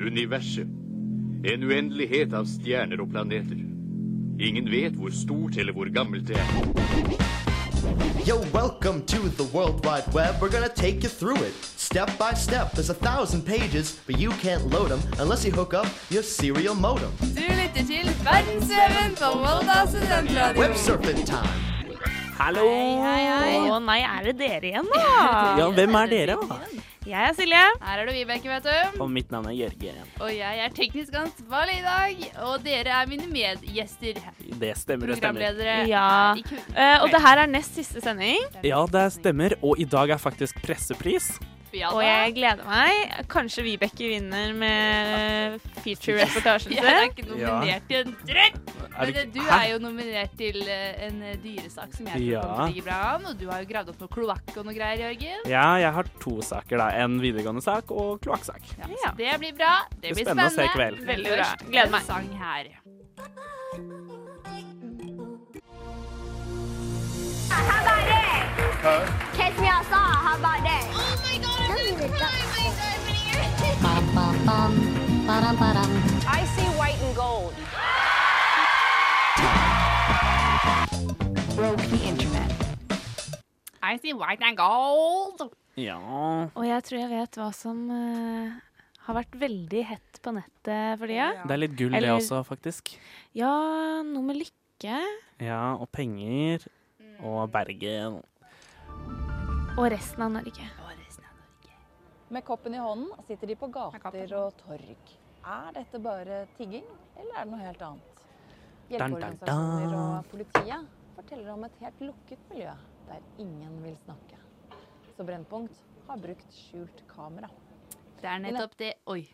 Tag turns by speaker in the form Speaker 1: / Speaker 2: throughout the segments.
Speaker 1: universet. En uendelighet av stjerner og planeter. Ingen vet hvor stort eller hvor gammelt det er.
Speaker 2: Yo, welcome to the World Wide Web. We're gonna take you through it step by step. There's a thousand pages, but you can't load them unless you hook up your serial modem.
Speaker 3: Du lytter til Verdensveven på Volda studentradio.
Speaker 2: Web surfing time.
Speaker 4: Hallo!
Speaker 5: Hei, hei. Å nei, er det dere igjen, da?
Speaker 4: Ja, hvem er dere, da?
Speaker 5: Jeg er Silje.
Speaker 3: Her er det Vibeke, vet du.
Speaker 4: Og mitt navn er Jørgen.
Speaker 3: Og jeg er teknisk ansvarlig i dag. Og dere er mine medgjester.
Speaker 4: Det stemmer, det stemmer.
Speaker 3: Programledere.
Speaker 5: Ja.
Speaker 3: er i kveld.
Speaker 5: Eh, og det her er nest siste sending,
Speaker 4: Ja, det stemmer. Og i dag er faktisk pressepris.
Speaker 3: Ja,
Speaker 5: og
Speaker 3: da.
Speaker 5: jeg gleder meg. Kanskje Vibeke vinner med feature-reportasjen
Speaker 3: Jeg er
Speaker 5: sin.
Speaker 3: ikke
Speaker 4: Ja.
Speaker 3: nominert til en drøkk.
Speaker 4: Er
Speaker 3: Men
Speaker 4: det-
Speaker 3: eh, du
Speaker 4: Hæ?
Speaker 3: er jo nominert til eh, en eh, dyresak som jeg tror
Speaker 4: Ja.
Speaker 3: kommer til å ligge bra an. Og du har jo gravd opp noe kloakk og noe greier, Jørgen.
Speaker 4: Ja, jeg har to saker, da. En videregående sak og kloakksak.
Speaker 3: Ja, så
Speaker 5: Ja.
Speaker 3: Det blir bra. Det blir
Speaker 4: Det blir spennende å se i kveld.
Speaker 3: Men
Speaker 5: Veldig bra.
Speaker 3: først
Speaker 5: Gleder
Speaker 3: en
Speaker 5: meg.
Speaker 3: Sang her.
Speaker 6: How about that? Catch me outside. How about that? Oh my god, I'm gonna cry I see white and gold.
Speaker 3: I see white and gold.
Speaker 4: Ja
Speaker 5: Og jeg tror jeg vet hva som eh, har vært veldig hett på nettet for tida.
Speaker 4: Det er litt gull, det
Speaker 5: Eller-
Speaker 4: også, faktisk.
Speaker 5: Ja, noe med lykke
Speaker 4: Ja, og penger. Og Bergen.
Speaker 5: og resten av Norge.
Speaker 7: Med koppen i hånden sitter de på gater og torg. Er dette bare tigging, eller er det noe helt annet?
Speaker 4: dun, dun.
Speaker 7: Hjelpeorganisasjoner og politiet forteller om et helt lukket miljø der ingen vil snakke. Så Brennpunkt har brukt skjult kamera.
Speaker 3: Det er nettopp det Oi.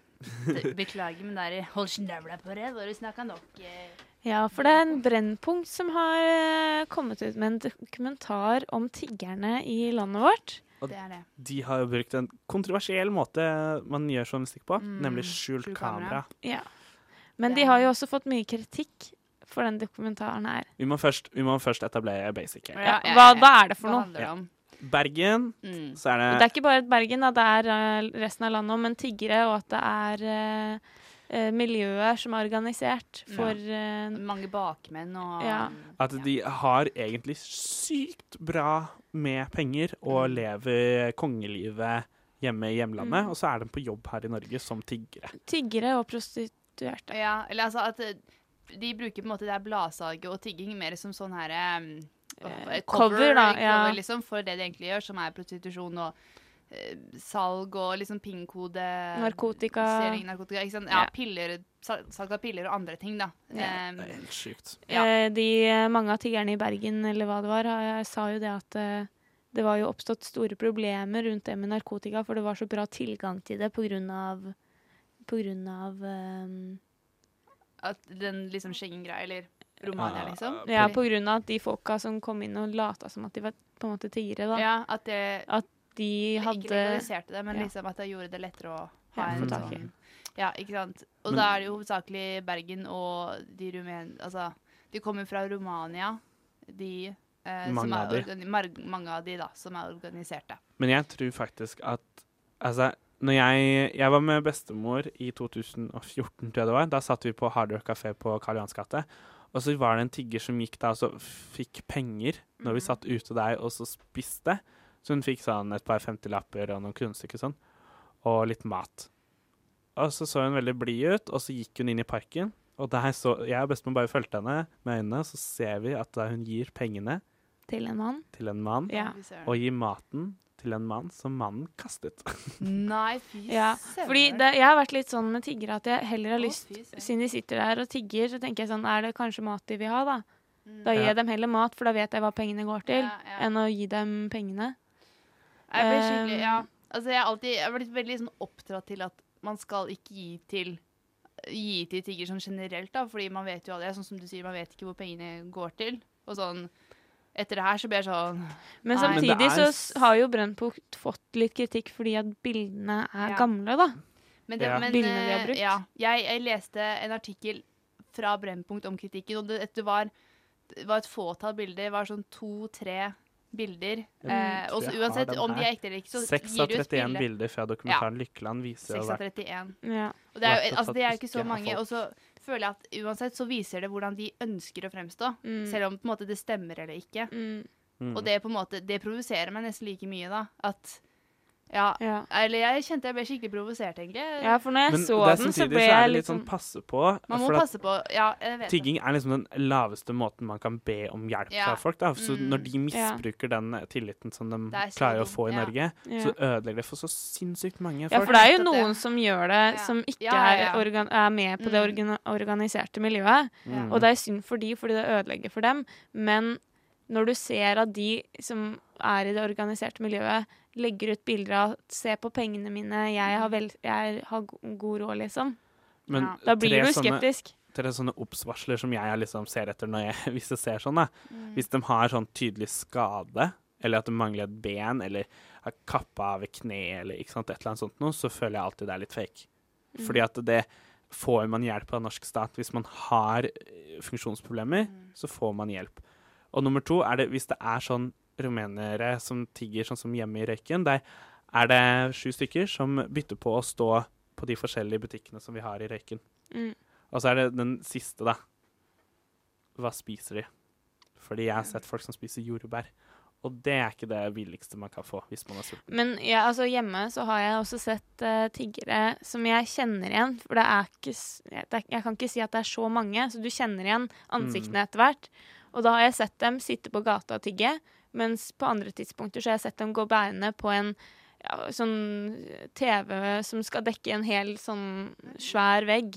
Speaker 3: Det- Beklager, men det er Hold snøvla på det. Bare snakka nok. eh.
Speaker 5: Ja, for det er en brennpunkt som har eh, kommet ut med en dokumentar om tiggerne i landet vårt.
Speaker 3: Det er det.
Speaker 4: De har jo brukt en kontroversiell måte man gjør sånn musikk på, nemlig skjult
Speaker 3: skjult kamera.
Speaker 4: kamera.
Speaker 5: Ja. Men
Speaker 3: Det
Speaker 5: de
Speaker 3: er-
Speaker 5: har jo også fått mye kritikk for den dokumentaren her.
Speaker 4: Vi må først, vi må først etablere basic her.
Speaker 3: Ja, ja, ja.
Speaker 5: Hva, hva er det for
Speaker 3: Hva
Speaker 5: noe?
Speaker 3: handler det om?
Speaker 4: Bergen,
Speaker 3: Mm.
Speaker 4: så er det
Speaker 5: Det er ikke bare Bergen, da. det er eh, resten av landet òg, men tiggere, og at det er eh, eh, miljøer som er organisert for eh,
Speaker 3: Mange bakmenn og
Speaker 5: Ja.
Speaker 4: At de har egentlig sykt bra med penger og lever kongelivet hjemme i hjemlandet, og så er de på jobb her i Norge som tiggere.
Speaker 5: tiggere og prostituerte.
Speaker 3: ja. Eller altså at eh, de bruker på en måte det her bladsalget og tigging mer som sånn her eh,
Speaker 5: Eh,
Speaker 3: eh,
Speaker 5: cover, da, ja.
Speaker 3: cover, liksom, for det de egentlig gjør, som er prostitusjon og eh, salg og liksom pingkode
Speaker 5: Narkotika.
Speaker 3: Selging, narkotika ikke sant? Ja,
Speaker 5: Ja.
Speaker 3: piller, sal- salg av piller og andre ting, da.
Speaker 5: Ja.
Speaker 3: Eh,
Speaker 4: Det er helt sykt.
Speaker 3: ja.
Speaker 5: Eh, de, mange av tiggerne i Bergen eller hva det var, har- sa jo det at eh, det var jo oppstått store problemer rundt det med narkotika, for det var så bra tilgang til det på grunn av, på grunn av eh,
Speaker 3: At den liksom Schengen-greia, eller Romania,
Speaker 4: Ja.
Speaker 3: liksom.
Speaker 5: Ja, på grunn av at de folka som kom inn og lata som at de var på en måte tiggere, da.
Speaker 3: Ja, at det
Speaker 5: De
Speaker 3: ikke
Speaker 5: hadde
Speaker 3: legaliserte det, men
Speaker 5: Ja.
Speaker 3: liksom at det gjorde det lettere å
Speaker 5: Ja,
Speaker 3: ha
Speaker 5: få
Speaker 3: en
Speaker 5: tak i.
Speaker 3: sånn Ja, ikke sant. Og da er det jo hovedsakelig Bergen og de rumen... Altså, de kommer fra Romania, de eh,
Speaker 4: Mange
Speaker 3: som
Speaker 4: av
Speaker 3: er
Speaker 4: de.
Speaker 3: organi mar mange av de, da, som er organiserte.
Speaker 4: Men jeg tror faktisk at Altså, når jeg, jeg var med bestemor i 2014, tror jeg det var, da satt vi på Hard Rock kafé på Karl Johans gate. Og så var det en tigger som gikk da og så fikk penger når vi satt ute der og så spiste. Så hun fikk sånn et par 50-lapper og noen kunststykker sånn, og litt mat. Og så så hun veldig blid ut, og så gikk hun inn i parken. Og der så, jeg og bestemor bare fulgte henne med øynene, så ser vi at da hun gir pengene
Speaker 5: til en mann.
Speaker 4: til en mann
Speaker 5: Ja.
Speaker 3: Fy søren.
Speaker 4: og gi maten til en mann som mannen kastet.
Speaker 3: Nei, fy
Speaker 5: Ja,
Speaker 3: søren.
Speaker 5: fordi det, jeg har vært litt sånn med tiggere at jeg heller har
Speaker 3: Å,
Speaker 5: lyst
Speaker 3: fy søren.
Speaker 5: Siden de sitter der og tigger, så tenker jeg sånn Er det kanskje mat de vil ha, da? Da gir
Speaker 4: Ja.
Speaker 5: jeg dem heller mat, for da vet jeg hva pengene går til,
Speaker 3: Mm. Ja, ja.
Speaker 5: enn å gi dem pengene.
Speaker 3: Jeg blir skikkelig,
Speaker 5: Um,
Speaker 3: ja. Altså, jeg har alltid jeg har blitt veldig sånn oppdratt til at man skal ikke gi til gi til tigger sånn generelt, da, fordi man vet jo aldri, sånn som du sier, man vet ikke hvor pengene går til, og sånn, etter det her så blir jeg sånn,
Speaker 5: Men
Speaker 3: Nei. Men
Speaker 4: det
Speaker 5: samtidig
Speaker 4: er-
Speaker 5: så s- har jo Brennpunkt fått litt kritikk fordi at bildene er
Speaker 3: Ja.
Speaker 5: gamle, da.
Speaker 3: men det,
Speaker 4: Ja.
Speaker 3: men,
Speaker 5: Bildene de har
Speaker 3: eh,
Speaker 5: brukt.
Speaker 3: Ja, jeg, jeg leste en artikkel fra Brennpunkt om kritikken, og det, det var, det var et fåtall bilder, det var sånn to-tre bilder.
Speaker 4: Jeg
Speaker 3: Eh,
Speaker 4: tror
Speaker 3: og så
Speaker 4: jeg har
Speaker 3: uansett
Speaker 4: Mm. den
Speaker 3: om de
Speaker 4: her.
Speaker 3: er ekte eller ikke, så
Speaker 4: 6
Speaker 3: gir
Speaker 4: av
Speaker 3: du et
Speaker 4: 31
Speaker 3: bilde.
Speaker 4: bilder fra dokumentaren Lykkeland
Speaker 3: 6
Speaker 4: viser jo
Speaker 3: av
Speaker 4: hvert
Speaker 3: 31.
Speaker 5: Ja.
Speaker 3: Og det er jo
Speaker 4: Verdt å
Speaker 3: altså, det er jo ikke så
Speaker 4: statistikke av
Speaker 3: mange.
Speaker 4: folk.
Speaker 3: Og så føler jeg at uansett så viser det hvordan de ønsker å fremstå.
Speaker 5: Mm.
Speaker 3: Selv om på en måte det stemmer eller ikke.
Speaker 5: Mm.
Speaker 4: Mm.
Speaker 3: Og det på en måte, det provoserer meg nesten like mye, da. At ja,
Speaker 5: Ja.
Speaker 3: Eller jeg kjente jeg ble skikkelig provosert, egentlig.
Speaker 5: ja, for når jeg
Speaker 4: Men
Speaker 5: så
Speaker 4: det er
Speaker 5: den, så
Speaker 4: samtidig
Speaker 5: ble
Speaker 4: så er
Speaker 5: jeg
Speaker 4: det
Speaker 5: litt
Speaker 4: litt sånn
Speaker 5: sånn
Speaker 4: passe på.
Speaker 3: Man må
Speaker 4: for at
Speaker 3: passe på. Ja, jeg vet det.
Speaker 4: Tigging er liksom den laveste måten man kan be om hjelp
Speaker 3: Ja.
Speaker 4: fra folk. Da. Så
Speaker 3: Mm.
Speaker 4: når de misbruker den tilliten som de
Speaker 3: Det er så
Speaker 4: klarer å
Speaker 3: dumt,
Speaker 4: få i
Speaker 3: ja.
Speaker 4: Norge,
Speaker 5: ja.
Speaker 4: så ødelegger det for så sinnssykt mange
Speaker 5: Ja,
Speaker 4: folk.
Speaker 5: for det er jo
Speaker 3: Nettopp det.
Speaker 5: noen som gjør det,
Speaker 3: Ja.
Speaker 5: som ikke
Speaker 3: Ja, ja, ja.
Speaker 5: Er, organ er med på det
Speaker 3: Mm.
Speaker 5: organ organiserte miljøet.
Speaker 4: Mm.
Speaker 3: Ja.
Speaker 5: Og det er synd for de, fordi det ødelegger for dem. Men når du ser at de som er i det organiserte miljøet, legger ut bilder av 'se på pengene mine, jeg har, vel, jeg har go- god råd', liksom.
Speaker 4: Men
Speaker 3: Ja.
Speaker 5: Da blir
Speaker 4: tre
Speaker 5: du
Speaker 4: sånne-
Speaker 5: skeptisk.
Speaker 4: Tre sånne obs-varsler som jeg liksom ser etter når jeg, hvis jeg ser sånn. Da. Hvis de har sånn tydelig skade, eller at de mangler et ben, eller har kappa av et kne, eller ikke sant, et eller annet sånt noe, så føler jeg alltid det er litt fake. Fordi at det får man hjelp av norsk stat. Hvis man har eh, funksjonsproblemer, så får man hjelp. Og nummer to er det hvis det er sånn rumenere som tigger, sånn som hjemme i Røyken, der er det sju stykker som bytter på å stå på de forskjellige butikkene som vi har i Røyken.
Speaker 5: Mm.
Speaker 4: Og så er det den siste, da. Hva spiser de? Fordi jeg har sett folk som spiser jordbær. Og det er ikke det billigste man kan få hvis man er sulten.
Speaker 5: Men ja, altså, hjemme så har jeg også sett eh, tiggere som jeg kjenner igjen. For det er ikke, s- det er, jeg kan ikke si at det er så mange, så du kjenner igjen ansiktene etter hvert. Og da har jeg sett dem sitte på gata og tigge, mens på andre tidspunkter så har jeg sett dem gå bærende på en ja, sånn TV som skal dekke en hel sånn svær vegg.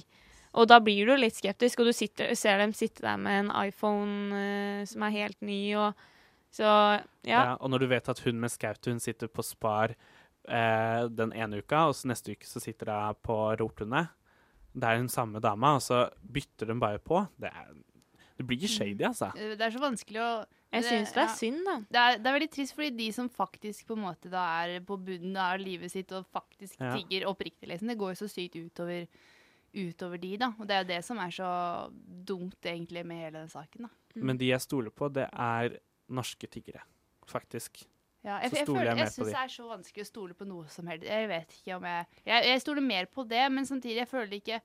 Speaker 5: Og da blir du litt skeptisk, og du sitter, ser dem sitte der med en iPhone eh, som er helt ny, og så ja.
Speaker 4: Ja, og når du vet at hun med skautun sitter på Spar eh, den ene uka, og så neste uke så sitter hun på Rotundet Det er hun samme dama, og så bytter hun bare på. Det, er, det blir shady,
Speaker 5: Mm.
Speaker 4: altså.
Speaker 3: Det er så vanskelig å
Speaker 5: Jeg
Speaker 3: det-
Speaker 5: syns det er
Speaker 3: ja.
Speaker 5: synd, da.
Speaker 3: det er, det er veldig trist, fordi de som faktisk på en måte da er på bunnen av livet sitt og faktisk
Speaker 4: Ja.
Speaker 3: tigger oppriktig, liksom, det går jo så sykt utover, utover de, da. Og det er jo det som er så dumt, egentlig, med hele den saken, da.
Speaker 5: Mm.
Speaker 4: Men de jeg stoler på, det er norske tiggere, faktisk.
Speaker 3: Ja, jeg,
Speaker 4: Så
Speaker 3: jeg,
Speaker 4: stoler jeg
Speaker 3: føler-
Speaker 4: mer
Speaker 3: jeg
Speaker 4: på
Speaker 3: syns
Speaker 4: de.
Speaker 3: det er så vanskelig å stole på noe som helst. Jeg vet ikke om jeg Jeg, jeg stoler mer på det, men samtidig, jeg føler ikke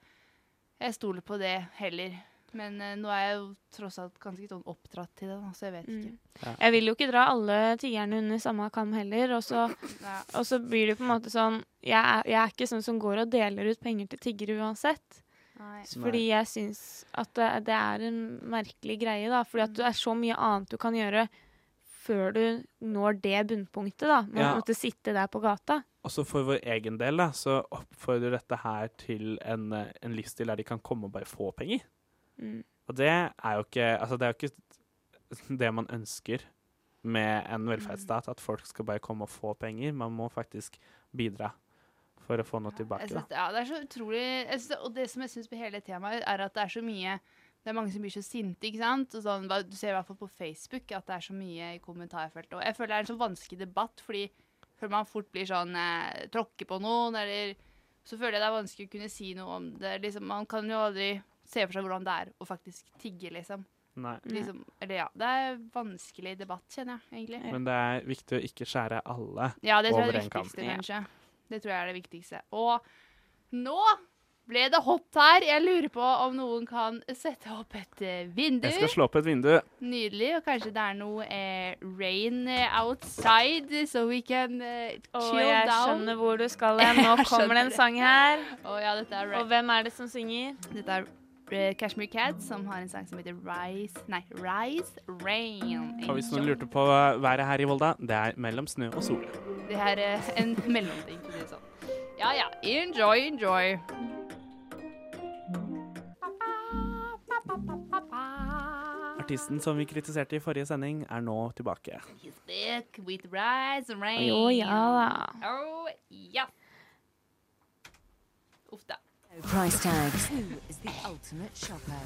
Speaker 3: jeg stoler på det heller. Men eh, nå er jeg jo tross alt ganske sånn oppdratt til det, da, så jeg vet ikke.
Speaker 5: Jeg vil jo ikke dra alle tiggerne under samme kam heller. Og så,
Speaker 3: Ja.
Speaker 5: og så blir det på en måte sånn jeg er, jeg er ikke sånn som går og deler ut penger til tiggere uansett.
Speaker 3: Nei.
Speaker 5: Så Fordi jeg syns at det, det er en merkelig greie, da. Fordi at det er så mye annet du kan gjøre før du når det bunnpunktet, da. Med
Speaker 4: Ja.
Speaker 5: å måtte sitte der på gata.
Speaker 4: Også for vår egen del da, så oppfordrer dette her til en, eh, en livsstil der de kan komme og bare få penger.
Speaker 5: Mm.
Speaker 4: Og det er jo ikke, altså det er jo ikke det man ønsker med en velferdsstat, at folk skal bare komme og få penger. Man må faktisk bidra for å få noe
Speaker 3: Jeg
Speaker 4: tilbake. Da.
Speaker 3: synes, ja, det er så utrolig jeg synes, Og det som jeg syns på hele temaet, er at det er så mye Det er mange som blir så sinte, ikke sant. Og sånn, hva- du ser i hvert fall på Facebook at det er så mye i kommentarfeltet. Og jeg føler det er en så vanskelig debatt, fordi føler man fort blir sånn eh, Tråkke på noen, eller Så føler jeg det er vanskelig å kunne si noe om det. Liksom, man kan jo aldri se for seg hvordan det er å faktisk tigge, liksom.
Speaker 4: Nei.
Speaker 3: liksom eller ja. Det er en vanskelig debatt, kjenner jeg, egentlig.
Speaker 4: Men det er viktig å ikke skjære alle.
Speaker 3: Ja, det tror jeg
Speaker 4: over
Speaker 3: er det
Speaker 4: en kam.
Speaker 3: viktigste, kanskje. Det tror jeg er det viktigste. Og nå ble det hot her. Jeg lurer på om noen kan sette opp et eh, vindu.
Speaker 4: Jeg skal slå opp et vindu.
Speaker 3: Nydelig. Og kanskje det er noe eh, rain eh, outside, so we can eh,
Speaker 5: Og
Speaker 3: chill
Speaker 5: jeg
Speaker 3: down.
Speaker 5: skjønner hvor du skal hen. Nå
Speaker 3: Jeg
Speaker 5: kommer det
Speaker 3: skjønner
Speaker 5: en sang her.
Speaker 3: Å ja, dette er,
Speaker 5: Og
Speaker 3: rain.
Speaker 5: hvem er det som synger?
Speaker 3: dette er eh, Cashmere Cats, som har en sang som heter Rise Nei, Rise Rain.
Speaker 4: Og hvis noen lurte på hva været her i Volda, det er mellom snø og sol.
Speaker 3: Det her er en mellomting. for å si det sånn. Ja ja. Enjoy, enjoy.
Speaker 4: Artisten som vi kritiserte i forrige sending, er nå tilbake.
Speaker 3: He's back with Rise and Rain.
Speaker 5: Jo, ja da.
Speaker 3: Oh, ja. Uff da.
Speaker 8: Price tags. Who is the ultimate shopper?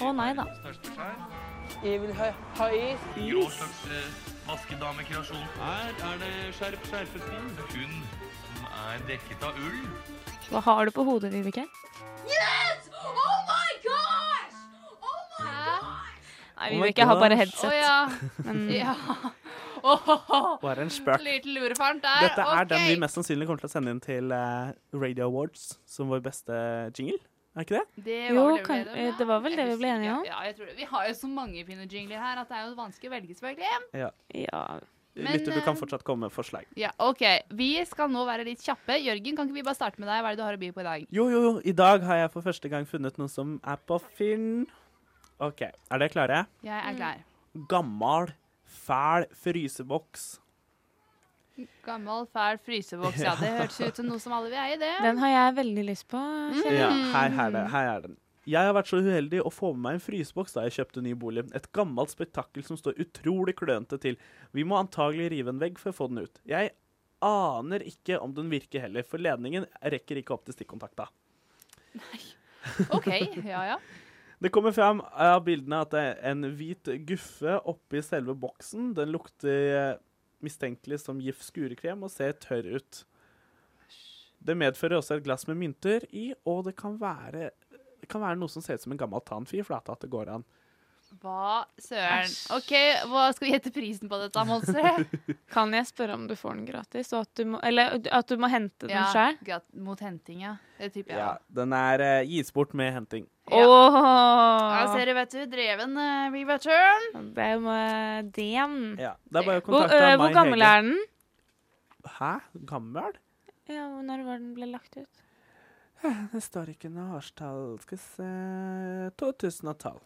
Speaker 5: Å nei da. Hva har du på hodet, Vibeke?
Speaker 6: Yes! Oh my gosh! Oh my
Speaker 5: Nei, Nei,
Speaker 4: Oh
Speaker 5: vi
Speaker 4: my
Speaker 5: vil ikke ha bare
Speaker 4: gosh.
Speaker 5: headset.
Speaker 3: Å ja.
Speaker 5: Men
Speaker 3: ja. Åhåhå.
Speaker 4: Bare en spøk.
Speaker 3: Liten lurefaren der.
Speaker 4: Dette er den vi
Speaker 3: Eh, ok.
Speaker 4: mest sannsynlig kommer til å sende inn til eh, Radio Awards som vår beste jingle. Er ikke det?
Speaker 3: Det
Speaker 5: Jo,
Speaker 3: var vel det vi
Speaker 5: kan-
Speaker 3: ble enige om,
Speaker 5: eh, det var vel
Speaker 3: ja.
Speaker 5: det
Speaker 3: Jeg
Speaker 5: vi ble
Speaker 3: husker
Speaker 5: enige
Speaker 3: ikke.
Speaker 5: om.
Speaker 3: Ja, jeg tror det. Vi har jo så mange pinnejingler her at det er jo vanskelig å velge, selvfølgelig.
Speaker 5: ja.
Speaker 3: Men,
Speaker 4: Lytter, du kan
Speaker 3: eh,
Speaker 4: fortsatt komme med forslag.
Speaker 3: Ja, OK. Vi skal nå være litt kjappe. Jørgen, kan ikke vi bare starte med deg? Hva er det du har å by på i dag?
Speaker 4: Jo, jo, jo. I dag har jeg for første gang funnet noe som er på Finn. OK, er dere klare?
Speaker 3: Jeg er klar.
Speaker 4: Gammal, fæl fryseboks.
Speaker 3: Gammel, fæl fryseboks. Ja, det hørtes ut som noe som alle vil eie, det.
Speaker 5: Den har jeg veldig lyst på. kjenner jeg.
Speaker 4: Ja, her, er det, her er den. Jeg har vært så uheldig å få med meg en fryseboks da jeg kjøpte ny bolig. Et gammelt spektakel som står utrolig klønete til. Vi må antagelig rive en vegg for å få den ut. Jeg aner ikke om den virker heller, for ledningen rekker ikke opp til stikkontakta.
Speaker 3: OK. Ja, ja.
Speaker 4: Det kommer fram av bildene at det er en hvit guffe oppi selve boksen. Den lukter eh, mistenkelig som gift skurekrem og ser tørr ut. Det medfører også et glass med mynter i, og det kan være, det kan være noe som ser ut som en gammel tannfir, for at det går an.
Speaker 3: Hva søren. OK, hva skal vi gjette prisen på dette, monsteret?
Speaker 5: Kan jeg spørre om du får den gratis, og at du må, eller at du må hente den
Speaker 3: Ja,
Speaker 5: sjøl?
Speaker 3: grat- mot henting, ja. Det tipper jeg.
Speaker 4: Ja, den er eh, gis bort med henting.
Speaker 3: Ja.
Speaker 5: Åh!
Speaker 3: Ja, ser du, vet du. Dreven uh, return.
Speaker 5: Det er jo med dem.
Speaker 4: Ja, det er bare å
Speaker 5: Hvor,
Speaker 4: kontakte
Speaker 5: øh,
Speaker 4: meg.
Speaker 5: hvor gammel er den?
Speaker 4: Hæ? Gammel?
Speaker 5: Ja, Når var den ble lagt ut?
Speaker 4: Det står ikke noe årstall. Skal vi se
Speaker 5: eh,
Speaker 4: 2000-tall.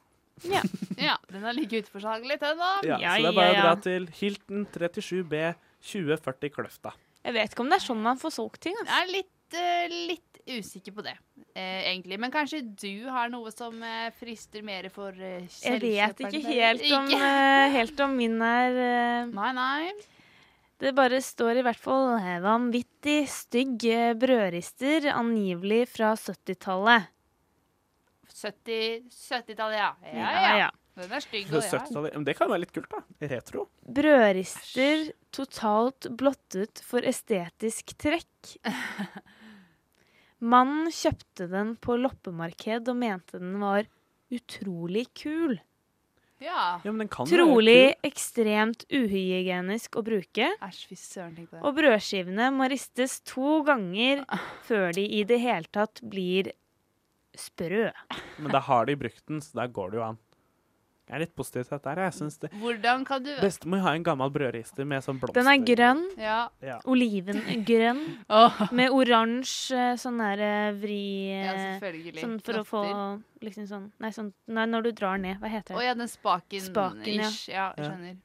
Speaker 3: Ja, den er like uteforsagelig, den, da.
Speaker 4: Ja,
Speaker 5: Ja,
Speaker 4: så det er bare
Speaker 5: ja,
Speaker 4: å
Speaker 5: ja.
Speaker 4: dra til Hilton 37B 2040 Kløfta.
Speaker 5: Jeg vet ikke om det er sånn man får solgt ting. Altså.
Speaker 3: Jeg er litt, eh, litt usikker på det, eh, egentlig. Men kanskje du har noe som eh, frister mer for uh,
Speaker 5: Jeg vet ikke helt om,
Speaker 3: Ikke?
Speaker 5: øh, helt om min er øh,
Speaker 3: Nei, nei.
Speaker 5: Det bare står i hvert fall øh, vanvittig stygg øh, brødrister, angivelig fra 70-tallet.
Speaker 3: 70 70-tallet, ja. Ja, ja.
Speaker 5: Ja, ja.
Speaker 3: Den er stygg,
Speaker 4: Fra
Speaker 3: og ja.
Speaker 4: 70-tallet. Men det kan være litt kult, da. Retro.
Speaker 5: Brødrister totalt blottet for estetisk trekk. Mannen kjøpte den på loppemarked og mente den var utrolig kul.
Speaker 3: ja.
Speaker 4: Ja, men den kan være
Speaker 5: Trolig ekstremt uhygienisk å bruke.
Speaker 3: Æsj, fy søren, tenk på det.
Speaker 5: Og brødskivene må ristes to ganger før de i det hele tatt blir sprø.
Speaker 4: kul. Men da har de brukt den, så der går det jo an. Jeg er litt positiv til dette her. Jeg synes det
Speaker 3: Hvordan kan du
Speaker 4: Bestemor har en gammel brødrister med sånn blomster.
Speaker 5: Den er grønn.
Speaker 3: Ja.
Speaker 4: Ja.
Speaker 5: Olivengrønn
Speaker 3: Åh,
Speaker 5: med oransje sånn der vri...
Speaker 3: ja,
Speaker 5: eh,
Speaker 3: selvfølgelig.
Speaker 5: Sånn for å få
Speaker 3: Knotter.
Speaker 5: liksom sånn Nei, sånn nei, når du drar ned. Hva heter
Speaker 3: Å
Speaker 5: det?
Speaker 3: ja, den spaken.
Speaker 5: Spaken, ja.
Speaker 3: ish. ja. jeg
Speaker 4: Ja.
Speaker 3: skjønner.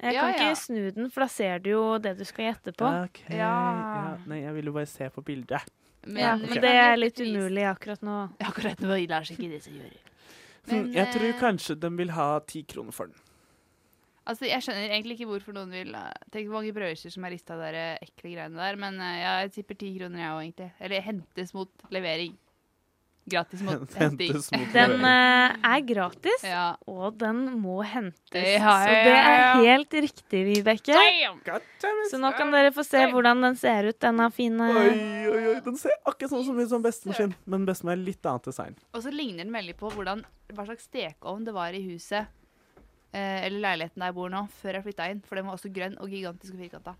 Speaker 5: Jeg
Speaker 3: ja, ja.
Speaker 5: kan ikke snu den, for da ser du jo det du skal gjette på.
Speaker 4: Ok, ja.
Speaker 3: Ja.
Speaker 4: Nei, jeg ville bare se på bildet.
Speaker 3: Men,
Speaker 5: Ja,
Speaker 3: vi
Speaker 5: men
Speaker 3: kan
Speaker 5: det
Speaker 3: gjette
Speaker 5: er litt
Speaker 3: pris.
Speaker 5: umulig akkurat nå.
Speaker 3: Akkurat nå lar seg ikke det som gjør.
Speaker 4: Hm,
Speaker 3: Men,
Speaker 4: jeg tror
Speaker 3: eh,
Speaker 4: kanskje de vil ha ti kroner for den.
Speaker 3: Altså, Jeg skjønner egentlig ikke hvorfor noen vil eh, Tenk hvor mange brødskiver som er rista av de der, eh, ekle greiene der. Men eh, ja, jeg tipper ti kroner, jeg òg, egentlig. Eller hentes mot levering. Gratis mot henting.
Speaker 4: Hentes mot
Speaker 5: Den
Speaker 4: levering.
Speaker 5: eh, er gratis,
Speaker 3: Ja.
Speaker 5: og den må hentes.
Speaker 3: Ja,
Speaker 5: Så
Speaker 3: ja,
Speaker 5: det
Speaker 3: ja,
Speaker 5: er
Speaker 3: ja.
Speaker 5: helt riktig, Vibeke.
Speaker 3: Damn!
Speaker 5: Så nå kan dere få se hvordan den ser ut, denne fine
Speaker 4: Oi, oi, oi. Den ser akkurat sånn som, som bestemor sin, men bestemor er litt annet design.
Speaker 3: Og så ligner den veldig på hvordan, hva slags stekeovn det var i huset. Eh, eller leiligheten der jeg bor nå, før jeg flytta inn. For den var også grønn og gigantisk og firkanta.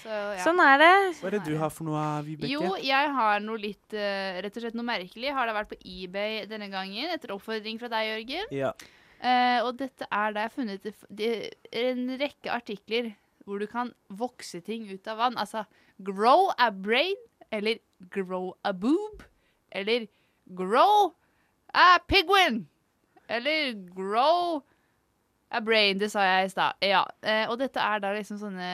Speaker 3: Så, ja.
Speaker 5: Sånn er det.
Speaker 4: Hva er det du har for noe, Vibeke?
Speaker 3: Jo, jeg har noe litt eh, Rett og slett noe merkelig. Har da vært på eBay denne gangen etter oppfordring fra deg, Jørgen.
Speaker 4: Ja.
Speaker 3: Eh, og dette er da jeg har funnet det, det, en rekke artikler hvor du kan vokse ting ut av vann. Altså grow a brain, eller grow a boob, eller grow a pigwin, eller grow a brain. Det sa jeg i stad. Ja. eh, og dette er da liksom sånne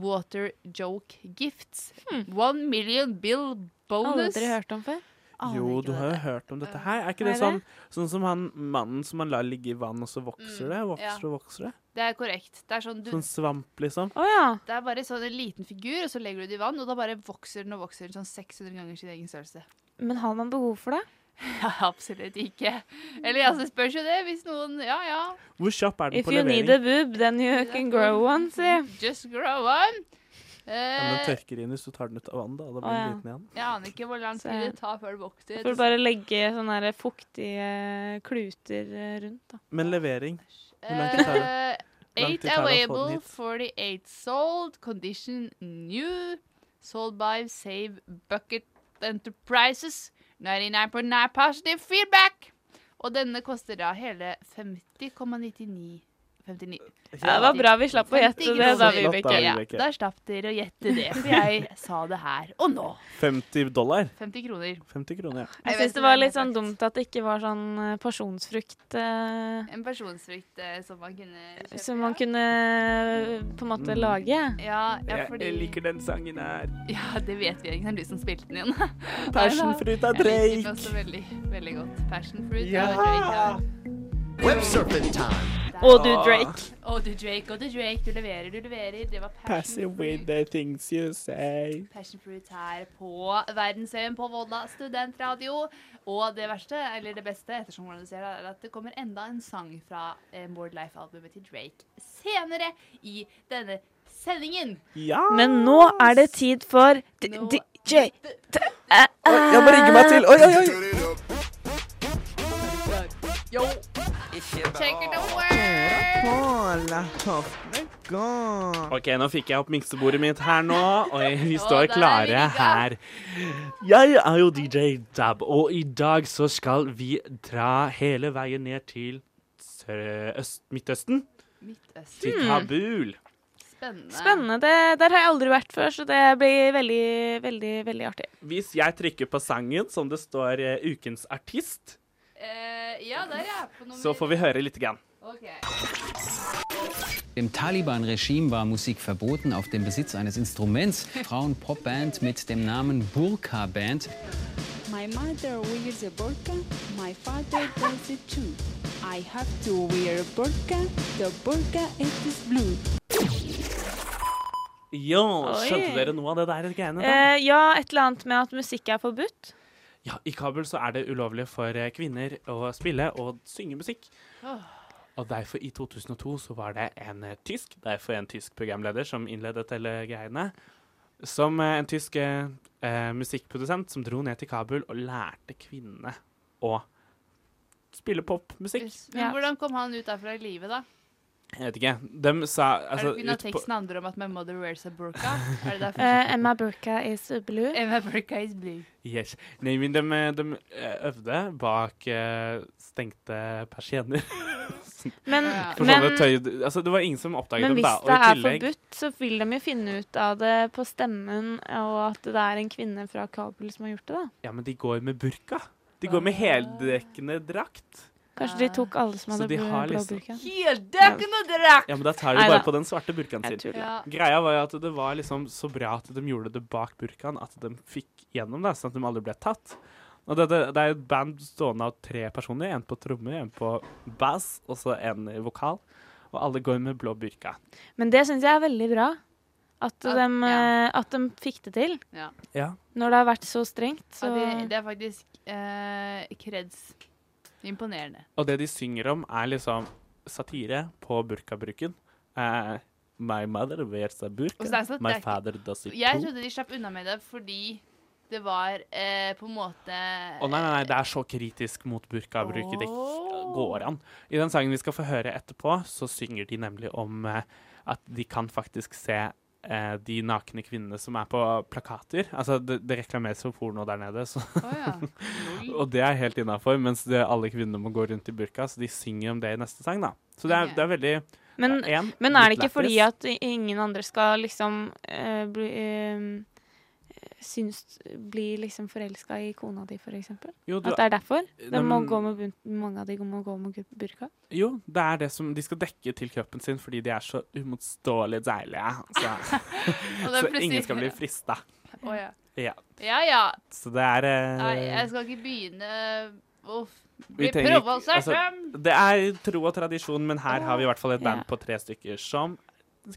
Speaker 3: water joke gifts. One million bill bonus.
Speaker 5: Hmm. Aldri hørt om før.
Speaker 3: Aner
Speaker 4: Jo,
Speaker 3: ikke
Speaker 4: du
Speaker 3: hva
Speaker 4: har
Speaker 3: det
Speaker 4: jo hørt om dette her. Er ikke
Speaker 5: Hva
Speaker 4: det
Speaker 5: er
Speaker 4: sånn,
Speaker 5: det?
Speaker 4: sånn som han mannen som man lar ligge i vann, og så vokser
Speaker 3: Mm,
Speaker 4: det?
Speaker 3: ja.
Speaker 4: Vokser og vokser det?
Speaker 3: Det er korrekt. Det er sånn, du,
Speaker 4: Sånn svamp, liksom?
Speaker 5: Å ja.
Speaker 3: Det er bare sånn en liten figur, og så legger du det i vann, og da bare vokser den og vokser den sånn 600 ganger sin egen størrelse.
Speaker 5: Men har man behov for det?
Speaker 3: Ja, absolutt ikke. Eller altså, det spørs jo det, hvis noen Ja, ja.
Speaker 4: Hvor kjapp er den
Speaker 5: If
Speaker 4: på
Speaker 5: you need a
Speaker 4: levering?
Speaker 5: boob, then you can grow one, si.
Speaker 3: Just grow on.
Speaker 4: Ja, men den
Speaker 3: Eh,
Speaker 4: tørker inn hvis du tar den ut av vannet. Da, da blir
Speaker 5: Å,
Speaker 4: den
Speaker 5: ja.
Speaker 4: liten igjen.
Speaker 3: jeg aner ikke hvor lang
Speaker 5: Så-
Speaker 3: tid det tar før det vokser.
Speaker 5: Får du bare legge sånne her fuktige kluter eh, rundt, da.
Speaker 4: Men levering hvor lang tid tar det?
Speaker 3: Eh,
Speaker 4: Hvor lang
Speaker 3: Eight
Speaker 4: tid tar det å få den
Speaker 3: available,
Speaker 4: hit?
Speaker 3: 48 sold, condition new, sold by Save Bucket Enterprises, 99.9 positive feedback. Og denne koster da hele 50,99. 59.
Speaker 5: Ja, det var bra vi slapp å gjette det, da,
Speaker 4: kroner.
Speaker 5: Vibeke.
Speaker 4: Ja,
Speaker 3: Ja,
Speaker 4: Vibeke.
Speaker 3: der slapp dere å gjette det, for jeg sa det her og nå.
Speaker 4: 50 dollar.
Speaker 3: 50 kroner.
Speaker 4: 50 kroner, ja.
Speaker 5: Jeg
Speaker 3: vet
Speaker 5: syns det
Speaker 3: ikke
Speaker 5: var
Speaker 3: hva jeg har
Speaker 5: litt sånn
Speaker 3: sagt.
Speaker 5: dumt at det ikke var sånn eh, pasjonsfrukt eh,
Speaker 3: En personsfrukt eh, som man kunne kjøpe.
Speaker 5: som man kunne eh, på en måte lage.
Speaker 3: Ja, ja, fordi...
Speaker 4: den sangen her.
Speaker 3: Ja, det vet vi egentlig. Det er du som spilte den igjen.
Speaker 4: Passionfruit av
Speaker 3: Jeg liker den også
Speaker 4: Drake.
Speaker 3: veldig, veldig godt. Passion fruit
Speaker 4: Ja.
Speaker 3: og Drake. Ja.
Speaker 2: Web surfing time.
Speaker 5: Og du, Drake.
Speaker 3: Å, du Drake, å, du Drake, du leverer, du leverer. Det var
Speaker 4: Pass
Speaker 3: passion
Speaker 4: away
Speaker 3: fruit.
Speaker 4: the things you say.
Speaker 3: Passion fruit her på Verdensøyen på Volda studentradio. Og det verste, eller det beste, ettersom hvordan du ser det, er at det kommer enda en sang fra eh, More Life-albumet til Drake senere i denne sendingen.
Speaker 4: Ja!
Speaker 5: Men nå er det tid for D-
Speaker 3: Nå-
Speaker 5: DJ.
Speaker 4: Oi, Jeg må rigge meg til. Oi, oi, oi!
Speaker 3: Check it over!
Speaker 4: OK, nå fikk jeg opp miksebordet mitt her nå, og vi
Speaker 3: Å,
Speaker 4: står
Speaker 3: der ligger
Speaker 4: klare
Speaker 3: han.
Speaker 4: her. Jeg er jo DJ Dab, og i dag så skal vi dra hele veien ned til Sør- øst, Midtøsten,
Speaker 3: Midtøsten.
Speaker 5: Mm.
Speaker 4: til Kabul.
Speaker 3: Spennende.
Speaker 5: Spennende. Det, der har jeg aldri vært før, så det blir veldig, veldig, veldig artig.
Speaker 4: Hvis jeg trykker på sangen som det står eh, 'Ukens artist',
Speaker 3: Eh, ja, der er jeg på nummer
Speaker 4: så får vi høre lite grann.
Speaker 3: Ok.
Speaker 9: Im Taliban-Regime war Musik verboten auf den Besitz eines Instruments. Frauen-Pop-Band mit dem Namen Burka Band.
Speaker 8: My mother wears a burqa, my father does it too. I have to wear a burqa, the burqa it is blue.
Speaker 4: Jo,
Speaker 5: Oi.
Speaker 4: skjønte dere noe av det der greiene der?
Speaker 5: Eh, ja, et eller annet med at musikk er forbudt.
Speaker 4: Ja, i Kabul så er det ulovlig for eh, kvinner å spille og synge musikk.
Speaker 5: Ah.
Speaker 4: Og derfor, i 2002, så var det en eh, tysk, derfor en tysk programleder som innledet hele greiene, som eh, en tysk eh, eh, musikkprodusent som dro ned til Kabul og lærte kvinnene å spille popmusikk.
Speaker 3: Men
Speaker 5: Ja.
Speaker 3: hvordan kom han ut derfra i livet, da?
Speaker 4: Jeg vet ikke. De sa altså,
Speaker 3: er det pga.
Speaker 4: ut på-
Speaker 3: teksten handler om at my mother wears a burka? er det derfor?
Speaker 5: Eh, Emma Burka is blue.
Speaker 3: Emma burka is blue.
Speaker 4: Yes. Nei, men de, de eh, øvde bak eh, stengte persienner.
Speaker 5: Men,
Speaker 3: Ja.
Speaker 4: For
Speaker 5: men,
Speaker 4: sånne tøy... Altså, det var ingen som oppdaget
Speaker 5: men
Speaker 4: dem, da.
Speaker 5: hvis
Speaker 4: og
Speaker 5: det
Speaker 4: i
Speaker 5: er
Speaker 4: tillegg-
Speaker 5: forbudt, så vil de jo finne ut av det på stemmen, og at det er en kvinne fra Kabul som har gjort det, da.
Speaker 4: Ja, men de går med burka. De
Speaker 3: Ah.
Speaker 4: går med heldekkende drakt.
Speaker 5: Kanskje de tok alle som
Speaker 4: Så
Speaker 5: hadde
Speaker 4: de
Speaker 5: blå,
Speaker 4: har
Speaker 5: blå
Speaker 4: liksom-
Speaker 5: burka.
Speaker 3: Heldekkende drakt!
Speaker 4: Ja, men da tar de
Speaker 5: Nei
Speaker 4: bare
Speaker 5: da.
Speaker 4: på den svarte burkaen
Speaker 5: Jeg
Speaker 4: sin.
Speaker 5: tuller.
Speaker 3: Ja.
Speaker 4: Greia var jo at det var liksom så bra at de gjorde det bak burkaen, at de fikk gjennom det, sånn at de aldri ble tatt. Og det, det, det er et band stående av tre personer, en på tromme, en på bass, og så en i vokal. Og alle går med blå burka.
Speaker 5: Men det syns jeg er veldig bra. At,
Speaker 3: At-
Speaker 5: de,
Speaker 3: ja.
Speaker 5: eh, at de fikk det til.
Speaker 3: Ja.
Speaker 4: Ja.
Speaker 5: Når det har vært så strengt, så
Speaker 3: Ja, det, det er faktisk eh, kreds. Imponerende.
Speaker 4: Og det de synger om, er liksom satire på burkabruken. Eh, my mother wears a burka,
Speaker 3: Og så er det sånn at
Speaker 4: my
Speaker 3: det er ikke-
Speaker 4: father does it
Speaker 3: Jeg
Speaker 4: too.
Speaker 3: trodde de slapp unna med det fordi det var eh, på en måte
Speaker 4: Å nei, nei, nei, det er så kritisk mot burkabruk. Det
Speaker 3: Åh.
Speaker 4: går an. I den sangen vi skal få høre etterpå, så synger de nemlig om eh, at de kan faktisk se eh, de nakne kvinnene som er på plakater. Altså, det, det reklameres for porno der nede, så,
Speaker 3: Å, ja. Lol.
Speaker 4: og det er helt innafor. Mens det, alle kvinnene må gå rundt i burka, så de synger om det i neste sang, da. Så det er,
Speaker 3: Ok.
Speaker 4: det er veldig
Speaker 5: men,
Speaker 4: ja, en,
Speaker 5: men er det
Speaker 4: litt
Speaker 5: ikke fordi
Speaker 4: lættis.
Speaker 5: at i- ingen andre skal liksom eh, bli eh, Syns Bli liksom forelska i kona di, for eksempel?
Speaker 4: jo, du,
Speaker 5: At det er derfor? De
Speaker 4: Nei,
Speaker 5: må
Speaker 4: men-
Speaker 5: gå med, bun- mange av de må gå med gu- burka.
Speaker 4: jo, det er det som de skal dekke til kroppen sin fordi de er så uimotståelig deilige. Så,
Speaker 3: Og det er
Speaker 4: så ingen
Speaker 3: plutselig-
Speaker 4: skal bli frista.
Speaker 3: Å, ja.
Speaker 4: Ja.
Speaker 3: ja ja.
Speaker 4: Så det er eh,
Speaker 3: Nei, jeg skal ikke begynne Uff.
Speaker 4: Vi
Speaker 3: Bli
Speaker 4: trenger ikke-
Speaker 3: prøva seg
Speaker 4: altså,
Speaker 3: frem!
Speaker 4: Det er tro og tradisjon, men her har vi i hvert fall et band
Speaker 5: Ja.
Speaker 4: på tre stykker som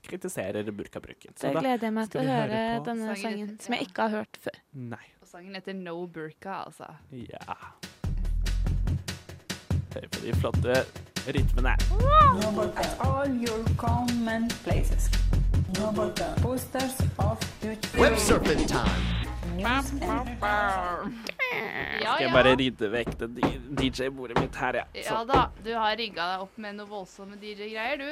Speaker 4: kritiserer burkabruken.
Speaker 5: Så
Speaker 4: Så da,
Speaker 5: gleder jeg meg
Speaker 4: skal
Speaker 5: til å
Speaker 4: vi høre
Speaker 5: høre
Speaker 4: på
Speaker 5: denne
Speaker 3: sangen
Speaker 5: sangen,
Speaker 3: etter-
Speaker 5: som jeg
Speaker 3: ja.
Speaker 5: ikke har hørt før.
Speaker 4: nei.
Speaker 3: Og sangen heter No Burka, altså.
Speaker 4: Ja. Hør på de flotte rytmene.
Speaker 8: at all your common places. Posters of Dutch
Speaker 2: Web surfing time.
Speaker 3: Ja,
Speaker 4: Skal jeg bare rydde vekk det DJ-bordet mitt her, ja.
Speaker 3: ja
Speaker 4: Sånn,
Speaker 3: da, du har rigga deg opp med noe voldsomme DJ-greier, du.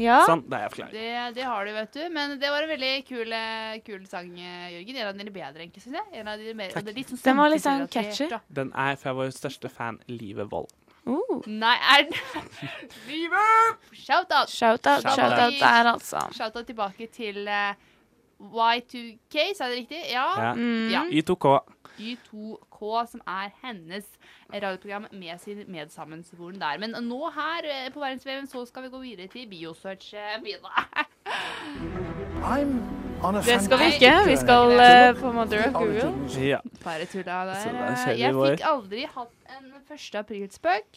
Speaker 5: Ja.
Speaker 4: sånn da er jeg klar.
Speaker 3: Det, det har du, vet du. Men det var en veldig kul, eh, kul sang, eh, Jørgen. En av dine bedre, egentlig, syns jeg. En av dine mer, og det er litt sånn
Speaker 5: Den var litt sånn
Speaker 3: samtidsrelatert,
Speaker 5: catchy.
Speaker 3: da.
Speaker 4: Den er fra vår største fan, Live Wold.
Speaker 5: Uh,
Speaker 3: Nei, er den Livet! Shout-out!
Speaker 5: Shout-out,
Speaker 4: Shout-out.
Speaker 5: shout-out der, altså.
Speaker 3: Shout-out tilbake til eh, Y2K, sa jeg det riktig? Ja. Mm.
Speaker 4: Ja.
Speaker 3: ja.
Speaker 4: Y2K.
Speaker 3: Y2K, som er hennes radioprogram med sin medsammensvoren der. Men nå her eh, på verdensveven så skal vi gå videre til Biosearch. eh, Videre.
Speaker 5: Det skal vi ikke. Vi skal eh, på Mother of Google.
Speaker 4: Ja.
Speaker 3: Bare tulla
Speaker 4: Så
Speaker 3: der.
Speaker 4: det er
Speaker 3: eh,
Speaker 4: kjedelig
Speaker 3: Jeg
Speaker 4: vår.
Speaker 3: fikk aldri hatt en 1. aprilspøk.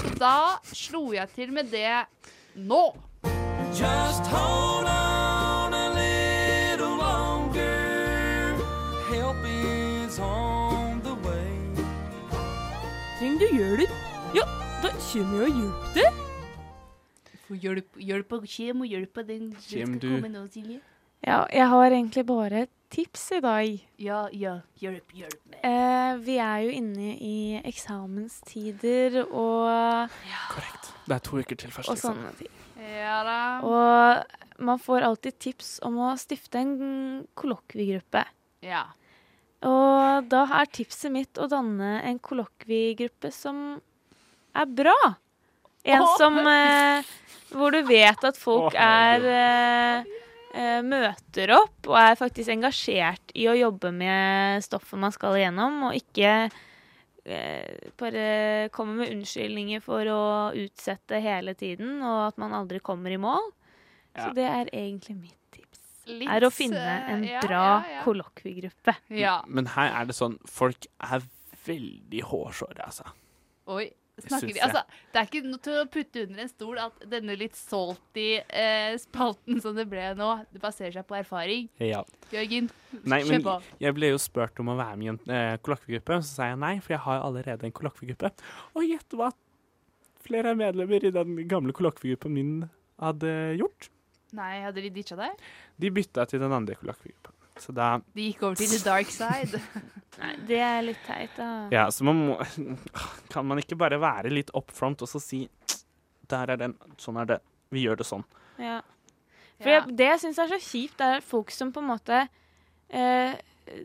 Speaker 3: Så da slo jeg til med det nå.
Speaker 5: Trenger du hjelp? Ja, da kommer jeg og hjelper deg.
Speaker 3: Få hjelp, hjelp og kjem og hjelp av den som
Speaker 4: Kjem
Speaker 3: skal
Speaker 4: du.
Speaker 3: komme nå, Silje.
Speaker 5: Ja, jeg har egentlig bare et tips i dag.
Speaker 3: Ja, ja, hjelp, hjelp meg.
Speaker 5: Eh, vi er jo inne i eksamenstider og,
Speaker 4: Korrekt. Det er to uker til første
Speaker 5: og sånn.
Speaker 4: eksamen.
Speaker 5: sånne ting.
Speaker 3: Ja da.
Speaker 5: Og man får alltid tips om å stifte en kollokviegruppe.
Speaker 3: Ja.
Speaker 5: Og da er tipset mitt å danne en kollokviegruppe som er bra. En
Speaker 3: Åh.
Speaker 5: som eh, Hvor du vet at folk
Speaker 4: Åh,
Speaker 5: er eh, eh, Møter opp og er faktisk engasjert i å jobbe med stoffet man skal igjennom, og ikke eh, bare kommer med unnskyldninger for å utsette hele tiden, og at man aldri kommer i mål.
Speaker 4: Ja.
Speaker 5: Så det er egentlig mitt tips.
Speaker 3: Litt,
Speaker 5: Er å finne
Speaker 3: eh,
Speaker 5: en
Speaker 3: ja,
Speaker 5: bra
Speaker 3: ja, ja.
Speaker 5: kollokviegruppe.
Speaker 3: Ja.
Speaker 4: Men her er det sånn Folk er veldig hårsåre, altså.
Speaker 3: Oi. Snakker
Speaker 4: Syns
Speaker 3: de
Speaker 4: jeg.
Speaker 3: Altså, det er ikke noe til å putte under en stol at denne litt salty eh, spalten som det ble nå, det baserer seg på erfaring.
Speaker 4: Ja.
Speaker 3: Jørgen,
Speaker 4: Nei, men
Speaker 3: kjør på.
Speaker 4: jeg ble jo spurt om å være med i en eh, kollokviegruppe, så sa jeg nei, for jeg har allerede en kollokviegruppe. Og gjett hva flere medlemmer i den gamle kollokviegruppen min hadde gjort?
Speaker 3: Nei, hadde de ditcha deg?
Speaker 4: De bytta til den andre kollokviegruppen. Så da
Speaker 3: De gikk over til the dark side.
Speaker 5: Nei, det er litt teit, da.
Speaker 4: Ja, så man må Kan man ikke bare være litt up front og så si Der er den, sånn er det. Vi gjør det sånn.
Speaker 5: Ja. For
Speaker 3: ja.
Speaker 5: jeg, det jeg syns er så kjipt, er folk som på en måte eh,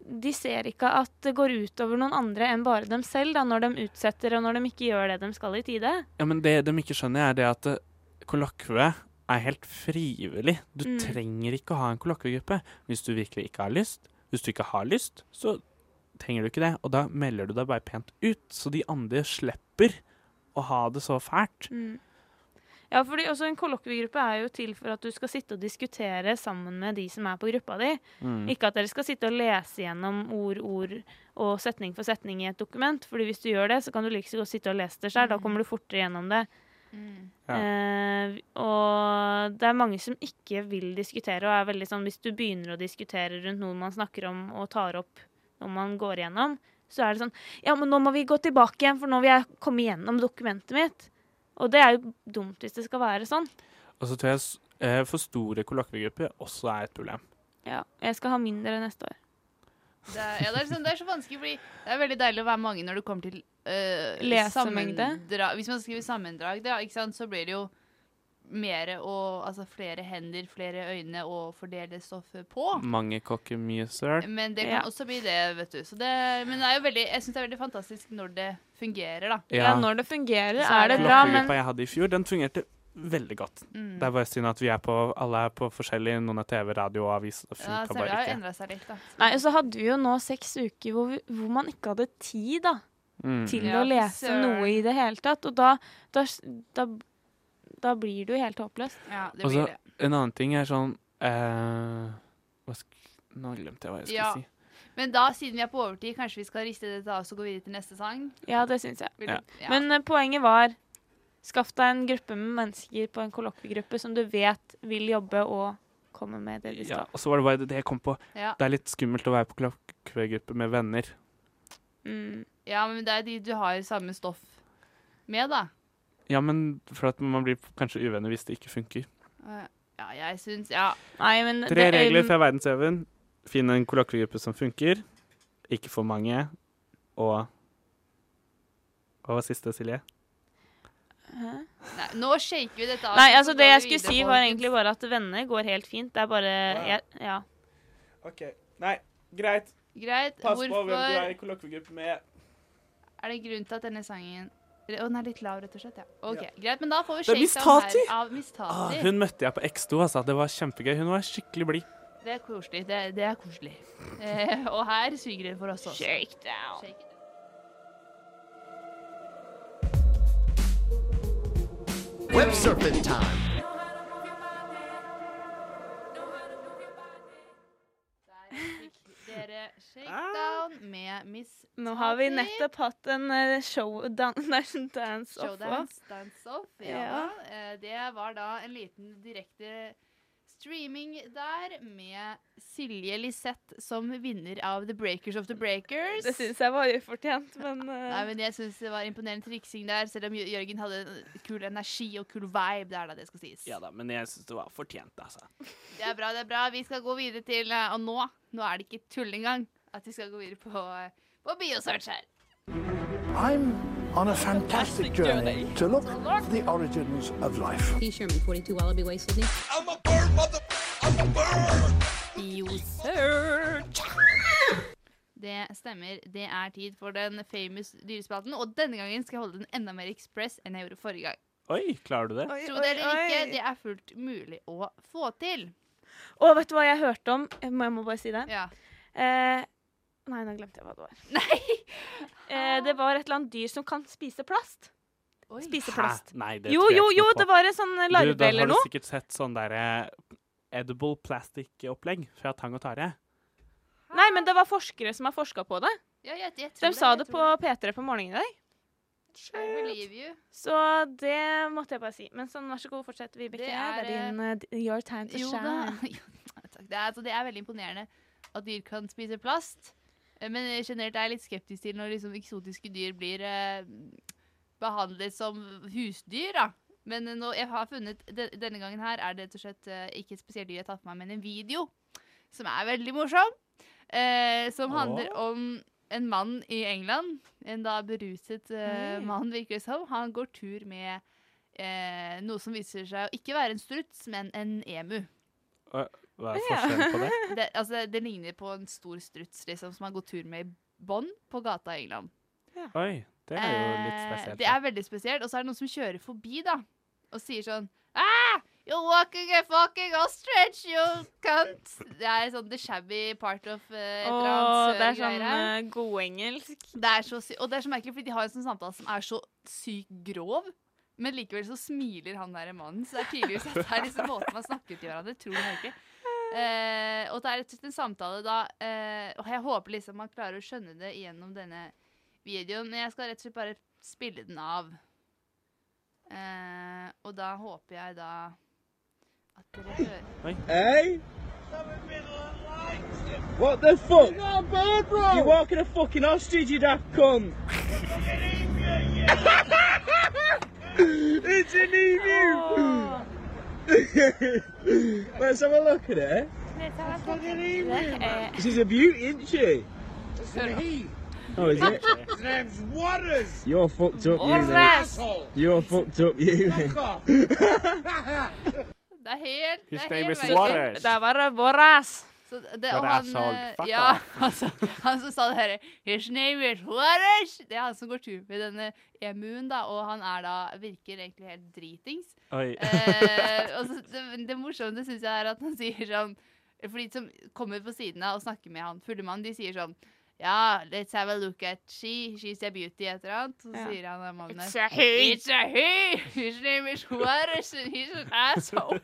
Speaker 5: De ser ikke at det går utover noen andre enn bare dem selv, da, når de utsetter og når de ikke gjør det de skal i tide.
Speaker 4: Ja, men det de ikke skjønner, er det at eh, kollokve er helt frivillig. Du
Speaker 5: Mm.
Speaker 4: trenger ikke å ha en kollokviegruppe hvis du virkelig ikke har lyst. Hvis du ikke har lyst, så trenger du ikke det, og da melder du deg bare pent ut, så de andre slipper å ha det så fælt.
Speaker 5: Mm. Ja, fordi også En kollokviegruppe er jo til for at du skal sitte og diskutere sammen med de som er på gruppa di. Ikke at dere skal sitte og lese gjennom ord, ord og setning for setning i et dokument. Fordi hvis du gjør det, så kan du like så godt sitte og lese det selv. Da kommer du fortere gjennom det.
Speaker 4: Ja.
Speaker 5: Eh, og det er mange som ikke vil diskutere, og er veldig sånn hvis du begynner å diskutere rundt noe man snakker om og tar opp når man går igjennom, så er det sånn Ja, men nå må vi gå tilbake igjen, for nå vil jeg komme igjennom dokumentet mitt. Og det er jo dumt hvis det skal være sånn.
Speaker 4: Og så tror jeg s- eh, for store kollokviegrupper også er et problem.
Speaker 5: Ja, jeg skal ha mindre neste år.
Speaker 3: Det, er- ja, det, er sånn, det er så vanskelig, fordi det er veldig deilig å være mange når det kommer til øh,
Speaker 5: Lesemengde.
Speaker 3: sammendra- Hvis man skriver sammendrag, da, ikke sant, så blir det jo mere og, altså, flere hender, flere øyne å fordele stoffet på.
Speaker 4: Mange kokker, mye søl.
Speaker 3: Men det kan
Speaker 5: Ja.
Speaker 3: også bli det, vet du. Så det, men det er jo veldig, jeg syns det er veldig fantastisk når det fungerer, da.
Speaker 5: Ja, når det fungerer,
Speaker 3: Så er
Speaker 5: er det
Speaker 3: det-
Speaker 5: bra, men
Speaker 4: Kollokviegruppa
Speaker 5: Mm.
Speaker 4: jeg hadde i fjor, den fungerte veldig godt. Det er bare synd at vi er på, alle er på forskjellig, noen er TV, radio og avis. Det
Speaker 3: Ja, så
Speaker 4: funka
Speaker 3: det
Speaker 4: bare
Speaker 3: har
Speaker 4: ikke.
Speaker 3: endra seg litt, da.
Speaker 5: Nei, og så hadde vi jo nå seks uker hvor, vi, hvor man ikke hadde tid, da.
Speaker 4: Mm.
Speaker 5: til
Speaker 3: Ja,
Speaker 5: å
Speaker 3: fy
Speaker 5: lese
Speaker 3: søren.
Speaker 5: noe i det hele tatt. Og da, da, da, da blir det jo helt håpløst.
Speaker 3: Ja, det
Speaker 4: Og så-
Speaker 3: blir det.
Speaker 4: Altså, En annen ting er sånn eh, hva sk Nå glemte jeg hva jeg skulle
Speaker 3: Ja.
Speaker 4: si.
Speaker 3: Men da, siden vi er på overtid, kanskje vi skal riste dette av og så gå videre til neste sang?
Speaker 5: Ja, det syns jeg.
Speaker 3: Vil
Speaker 4: Ja.
Speaker 3: du- Ja.
Speaker 5: Men eh, poenget var skaff deg en gruppe med mennesker på en kollokviegruppe som du vet vil jobbe og komme med det de
Speaker 4: Ja,
Speaker 5: skal.
Speaker 4: og så var det bare det- det jeg kom på.
Speaker 3: ja.
Speaker 4: Det er litt skummelt å være på klokkegruppe med venner.
Speaker 5: Mm.
Speaker 3: ja, men det er de du har samme stoff med, da.
Speaker 4: Ja, men for at man blir kanskje uvenner hvis det ikke funker.
Speaker 3: Eh, Ja, jeg syns Ja.
Speaker 5: Nei, men
Speaker 4: Tre
Speaker 5: det-
Speaker 4: regler
Speaker 5: em,
Speaker 4: fra verdensøven. Finn en kollokviegruppe som funker. Ikke for mange. Og Hva var siste, Silje?
Speaker 5: Hæ?
Speaker 3: Nei, nå shaker vi dette av.
Speaker 5: Nei,
Speaker 3: så
Speaker 5: altså
Speaker 3: går
Speaker 5: det jeg
Speaker 3: vi
Speaker 5: skulle
Speaker 3: videre,
Speaker 5: si, var
Speaker 3: folkens.
Speaker 5: egentlig bare at venner går helt fint. Det er bare jeg, Ja.
Speaker 4: OK. Nei, greit.
Speaker 3: Greit. Hvorfor er
Speaker 4: i kollokviegruppe med.
Speaker 3: det grunn til at denne sangen Å, den er litt lav, rett og slett. ja. OK, greit. Men da får vi
Speaker 4: Det er Miss
Speaker 3: shake down
Speaker 4: Tati!
Speaker 3: her av Miss Tati.
Speaker 4: Ah, hun møtte jeg på X2, altså. Det var kjempegøy. Hun var skikkelig blid.
Speaker 3: Det er koselig. Det, det er koselig. Eh, og her suger det for oss også.
Speaker 5: Shakedown.
Speaker 3: Shake it.
Speaker 2: Web surfing time.
Speaker 3: Dere, shakedown med Miss
Speaker 5: Nå har vi
Speaker 3: Tati.
Speaker 5: nettopp hatt en eh, show dan nei, dance off.
Speaker 3: Showdance, Dance Off. Ja.
Speaker 5: Ja.
Speaker 3: da. Eh, Det var da en liten direkte streaming der med Silje Lisette som vinner av The Breakers of the Breakers.
Speaker 5: Det syns jeg var ufortjent, men, eh,
Speaker 3: Nei, men jeg syns det var imponerende triksing der, selv om Jø- Jørgen hadde en kul energi og kul vibe der, da det skal sies.
Speaker 4: Ja da, men jeg syns det var fortjent, altså.
Speaker 3: Det er bra, det er bra. Vi skal gå videre til eh, Og nå, nå er det ikke tull engang at vi skal gå videre på, eh, på Biosearch her.
Speaker 10: I'm on a fantastic journey to look for the origins of life.
Speaker 11: Sherman, 42 Wallaby Way, Sydney.
Speaker 3: Det stemmer. Det er tid for den famous dyrespalten. Og denne gangen skal jeg holde den enda mer ekspress enn jeg gjorde forrige gang.
Speaker 4: Oi, klarer du det?
Speaker 5: Oi,
Speaker 3: Tro
Speaker 5: oi,
Speaker 3: det eller ikke,
Speaker 5: oi.
Speaker 3: det er fullt mulig å få til.
Speaker 5: Og vet du hva jeg hørte om? Jeg må, jeg må bare si det.
Speaker 3: Ja.
Speaker 5: Eh, nei, nå glemte jeg hva det var. Eh, det var et eller annet dyr som kan spise plast.
Speaker 3: Oi.
Speaker 5: Spise
Speaker 4: Hæ?
Speaker 5: plast.
Speaker 4: Nei, det
Speaker 5: Jo,
Speaker 4: tror jeg
Speaker 5: jo,
Speaker 4: ikke
Speaker 5: jo,
Speaker 4: noe på.
Speaker 5: det var en sånn
Speaker 4: Du, da
Speaker 5: larve eller
Speaker 4: har du
Speaker 5: noe.
Speaker 4: sikkert sett sånn derre edible plastic-opplegg fra Tang og Tare.
Speaker 5: Nei, men det var forskere som har forska på det.
Speaker 3: Ja, jeg, jeg tror
Speaker 5: De sa
Speaker 3: jeg
Speaker 5: det på
Speaker 3: tror
Speaker 5: P3 på morgenen i dag.
Speaker 3: det. I believe you.
Speaker 5: Så det måtte jeg bare si. Men sånn, vær så god, fortsett, Vibeke.
Speaker 3: Det
Speaker 5: Det
Speaker 3: er,
Speaker 5: er din eh, your time to
Speaker 3: Jo da.
Speaker 5: shine.
Speaker 3: Jo, Takk. Det er, altså, det er veldig imponerende at dyr kan spise plast. Eh, Men generelt er jeg litt skeptisk til når liksom, eksotiske dyr blir eh, behandlet som husdyr. Da. Men eh, nå, jeg har funnet de, denne gangen her er det rett og slett eh, ikke et spesielt dyr jeg har tatt med meg, men en video som er veldig morsom. Eh, som handler om en mann i England. En da beruset eh,
Speaker 5: Oi.
Speaker 3: mann, virker det som. Han går tur med eh, noe som viser seg å ikke være en struts, men en emu.
Speaker 4: Hva er
Speaker 5: Ja.
Speaker 4: forskjellen på det?
Speaker 3: Det, altså, det ligner på en stor struts liksom, som har gått tur med i bånd på gata i England.
Speaker 4: Oi, det er jo litt
Speaker 3: Eh,
Speaker 4: spesielt.
Speaker 3: det
Speaker 4: da.
Speaker 3: er veldig spesielt. Og så er det noen som kjører forbi da, og sier sånn ah, You're walking a fucking ostrich, you cunt! Det er sånn the shabby part of uh, et eller
Speaker 5: Åh,
Speaker 3: annet
Speaker 5: det er
Speaker 3: sørgreier
Speaker 5: sånn
Speaker 3: her.
Speaker 5: eh, godengelsk.
Speaker 3: Det er så sy og det er så merkelig, fordi de har en sånn samtale som er så sykt grov. Men likevel så smiler han der mannen, så det er tydeligvis at det er liksom måten man snakker til hverandre Tror jeg ikke. Eh, og det er rett og slett en samtale da eh, Og jeg håper liksom man klarer å skjønne det gjennom denne videoen, men jeg skal rett og slett bare spille den av. Eh, og da håper jeg da at dere hører Det er helt, det
Speaker 4: His
Speaker 3: er
Speaker 4: name
Speaker 3: helt
Speaker 4: is
Speaker 3: merkelig.
Speaker 4: Suarez.
Speaker 5: Det var våras.
Speaker 3: Så det,
Speaker 4: But
Speaker 3: og han,
Speaker 4: asshole,
Speaker 3: eh,
Speaker 4: fuck
Speaker 3: ja, altså, han som sa det her His name is Juarez Det er han som går tur med denne emuen da Og han er da, virker egentlig helt dritings
Speaker 4: Oi.
Speaker 3: eh, Og så det, det morsomme synes jeg er at han sier sånn For de som kommer på siden av og snakker med han Fulle mann, de sier sånn Ja, let's have a look at she She's a beauty, et eller annet Så
Speaker 5: Ja.
Speaker 3: sier han den mannen
Speaker 5: It's
Speaker 3: der
Speaker 5: a he.
Speaker 3: It's a he His name is Juarez and he's an asshole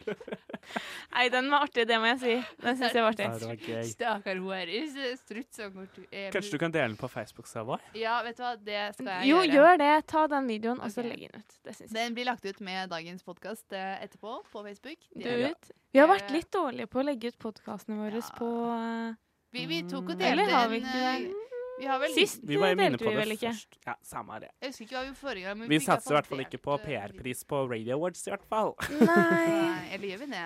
Speaker 5: Nei, den var artig, det må jeg si. Den syns jeg var
Speaker 4: Ja,
Speaker 5: artig.
Speaker 4: det var gøy.
Speaker 3: Stakkar Juarez Strutt som går tur eh, emu.
Speaker 4: Kanskje du kan dele den på Facebook-sida vår?
Speaker 3: Ja, vet du hva, det skal jeg
Speaker 5: Jo,
Speaker 3: gjøre.
Speaker 5: gjør det. Ta den videoen, og så
Speaker 3: Ok.
Speaker 5: legg den ut. Det syns jeg.
Speaker 3: Den blir lagt ut med dagens podkast eh, etterpå på Facebook. Det
Speaker 5: Du
Speaker 3: er bra.
Speaker 5: ut. Vi har
Speaker 3: Eh,
Speaker 5: vært litt dårlige på å legge ut podkastene våre
Speaker 3: Ja.
Speaker 5: på eh,
Speaker 3: Vi, vi tok og delte
Speaker 5: Eller har vi
Speaker 3: en,
Speaker 5: ikke
Speaker 3: eh, Vi har vel
Speaker 5: Sist
Speaker 4: Vi var jo inne
Speaker 5: delte
Speaker 4: på
Speaker 5: vi vel
Speaker 4: det
Speaker 5: ikke.
Speaker 4: først. Ja, samme det.
Speaker 3: Jeg husker ikke hva vi gjorde forrige gang. men
Speaker 4: Vi
Speaker 3: fikk
Speaker 4: satser i hvert fall
Speaker 3: delt,
Speaker 4: ikke på
Speaker 3: eh,
Speaker 4: PR-pris på Radio Awards, i hvert fall.
Speaker 5: Nei.
Speaker 3: Nei, eller gjør vi det?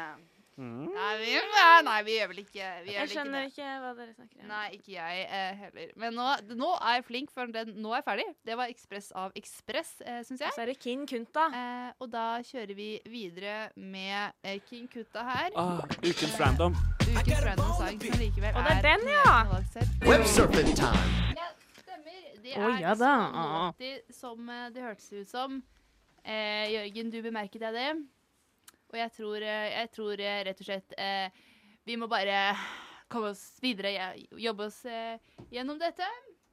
Speaker 4: Mm.
Speaker 3: Nei, vi, nei, nei, vi gjør vel ikke vi gjør
Speaker 5: Jeg
Speaker 3: vel ikke
Speaker 5: skjønner
Speaker 3: det.
Speaker 5: ikke hva dere snakker om.
Speaker 3: Nei, ikke jeg eh, heller. Men nå, nå er jeg flink, for den, nå er jeg ferdig. Det var Ekspress av Ekspress, eh, syns jeg.
Speaker 5: Og så er det Kin Kunta.
Speaker 3: Eh, og da kjører vi videre med eh, King Kunta her.
Speaker 4: Ah, ukens random.
Speaker 3: Ukens random sang som likevel
Speaker 5: Og det er den, ja!
Speaker 2: Web surfing time.
Speaker 3: Det
Speaker 5: Å,
Speaker 3: er
Speaker 5: ja
Speaker 3: liksom
Speaker 5: da.
Speaker 3: låter som eh, det hørtes ut som. Eh, Jørgen, du bemerket deg det. Og jeg tror, eh, jeg tror eh, rett og slett eh, vi må bare komme oss videre, jeg- jobbe oss eh, gjennom dette.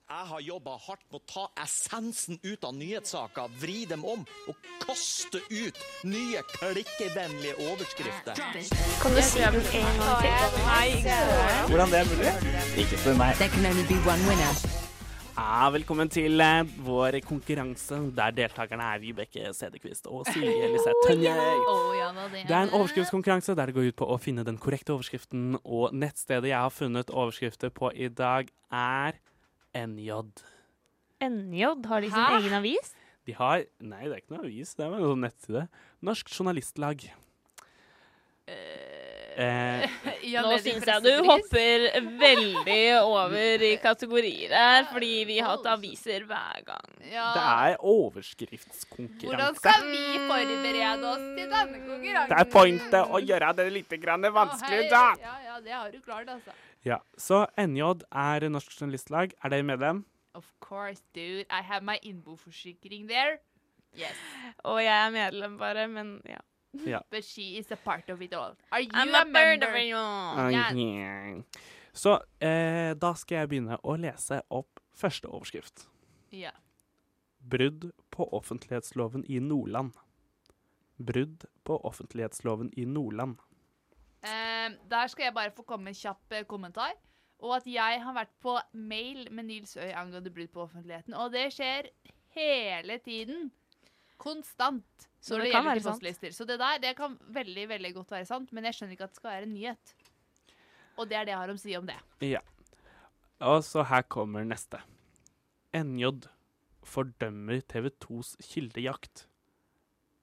Speaker 12: Jeg har jobba hardt med å ta essensen ut av nyhetssaker, vri dem om og kaste ut nye klikkevennlige overskrifter.
Speaker 5: Kan du si den en gang til? Nei.
Speaker 4: Hvordan det er mulig? Ikke spør meg.
Speaker 13: There can only be one winner.
Speaker 4: Ah, velkommen til eh, vår konkurranse, der deltakerne er Vibeke Cederquist og Silje Liseth Tønje.
Speaker 3: Å, ja da, det
Speaker 4: Det er en overskriftskonkurranse der det går ut på å finne den korrekte overskriften, og nettstedet jeg har funnet overskrifter på i dag, er NJ.
Speaker 5: NJ, har de sin
Speaker 4: Hæ?
Speaker 5: egen avis?
Speaker 4: De har Nei, det er ikke noe avis, det er bare en sånn nettside. Norsk Journalistlag. Eh,
Speaker 3: Ja,
Speaker 14: Nå
Speaker 3: med de
Speaker 14: syns jeg du hopper veldig over i kategorier her, fordi vi har hatt aviser hver gang.
Speaker 4: det er
Speaker 3: Hvordan
Speaker 4: overskriftskonkurranse.
Speaker 3: skal vi forberede oss til denne konkurransen?
Speaker 4: Det er pointet å gjøre det litt grann vanskelig,
Speaker 3: Hei,
Speaker 4: da.
Speaker 3: Ja, ja, det har du klart, altså.
Speaker 4: Ja, Så NJ er Norsk Journalistlag. Er dere medlem?
Speaker 3: Of course, dude. I have my innboforsikring there. Yes.
Speaker 5: Og jeg er medlem bare, men ja.
Speaker 4: Ja.
Speaker 3: But she is a part of it all. Are you
Speaker 14: I'm
Speaker 3: a,
Speaker 14: a bird of
Speaker 3: member?
Speaker 14: it all.
Speaker 3: Yeah.
Speaker 4: Ai, Så eh, da skal jeg begynne å lese opp første overskrift.
Speaker 3: Ja.
Speaker 4: Brudd på offentlighetsloven i Nordland. Brudd på offentlighetsloven i Nordland.
Speaker 3: Ehm, der skal jeg bare få komme med en kjapp eh, kommentar. Og at jeg har vært på mail med Nils Øy angående brudd på offentligheten. Og det skjer hele tiden. Konstant.
Speaker 5: Så
Speaker 3: når
Speaker 5: det kan
Speaker 3: gjelder
Speaker 5: være sant.
Speaker 3: postlister. Så det der det kan veldig veldig godt være sant, men jeg skjønner ikke at det skal være en nyhet. Og det er det jeg har å si om det.
Speaker 4: Ja. Og så her kommer neste. NJ fordømmer TV 2s kildejakt.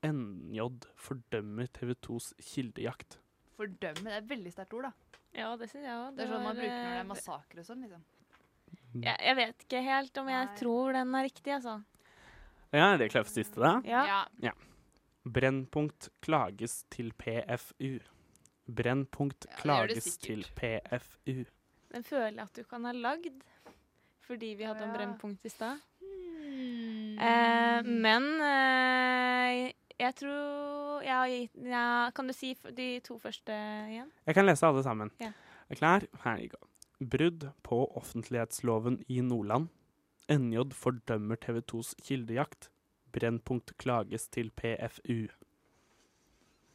Speaker 4: NJ fordømmer TV 2s kildejakt.
Speaker 3: Fordømme. Det er et veldig sterkt ord, da.
Speaker 5: Ja, det eh, syns jeg òg.
Speaker 3: Det er sånn man bruker når det er massakre og sånn. liksom.
Speaker 5: Jeg, jeg vet ikke helt om jeg tror den er riktig, altså.
Speaker 4: Ja, er det klart for siste, da?
Speaker 5: Ja. Ja.
Speaker 4: Brennpunkt klages til PFU. Brennpunkt
Speaker 5: gjør det
Speaker 4: klages til PFU.
Speaker 5: Den føler jeg at du kan ha lagd, fordi vi hadde en
Speaker 14: ja. Hmm.
Speaker 5: brennpunkt i stad. Eh, men eh, jeg tror jeg har gitt ja, Kan du si f- de to første igjen?
Speaker 4: Jeg kan lese alle sammen.
Speaker 5: Ja.
Speaker 4: Er klar? Her vi går. Brudd på offentlighetsloven i Nordland. NJ fordømmer TV 2s kildejakt. Brennpunkt klages til PFU.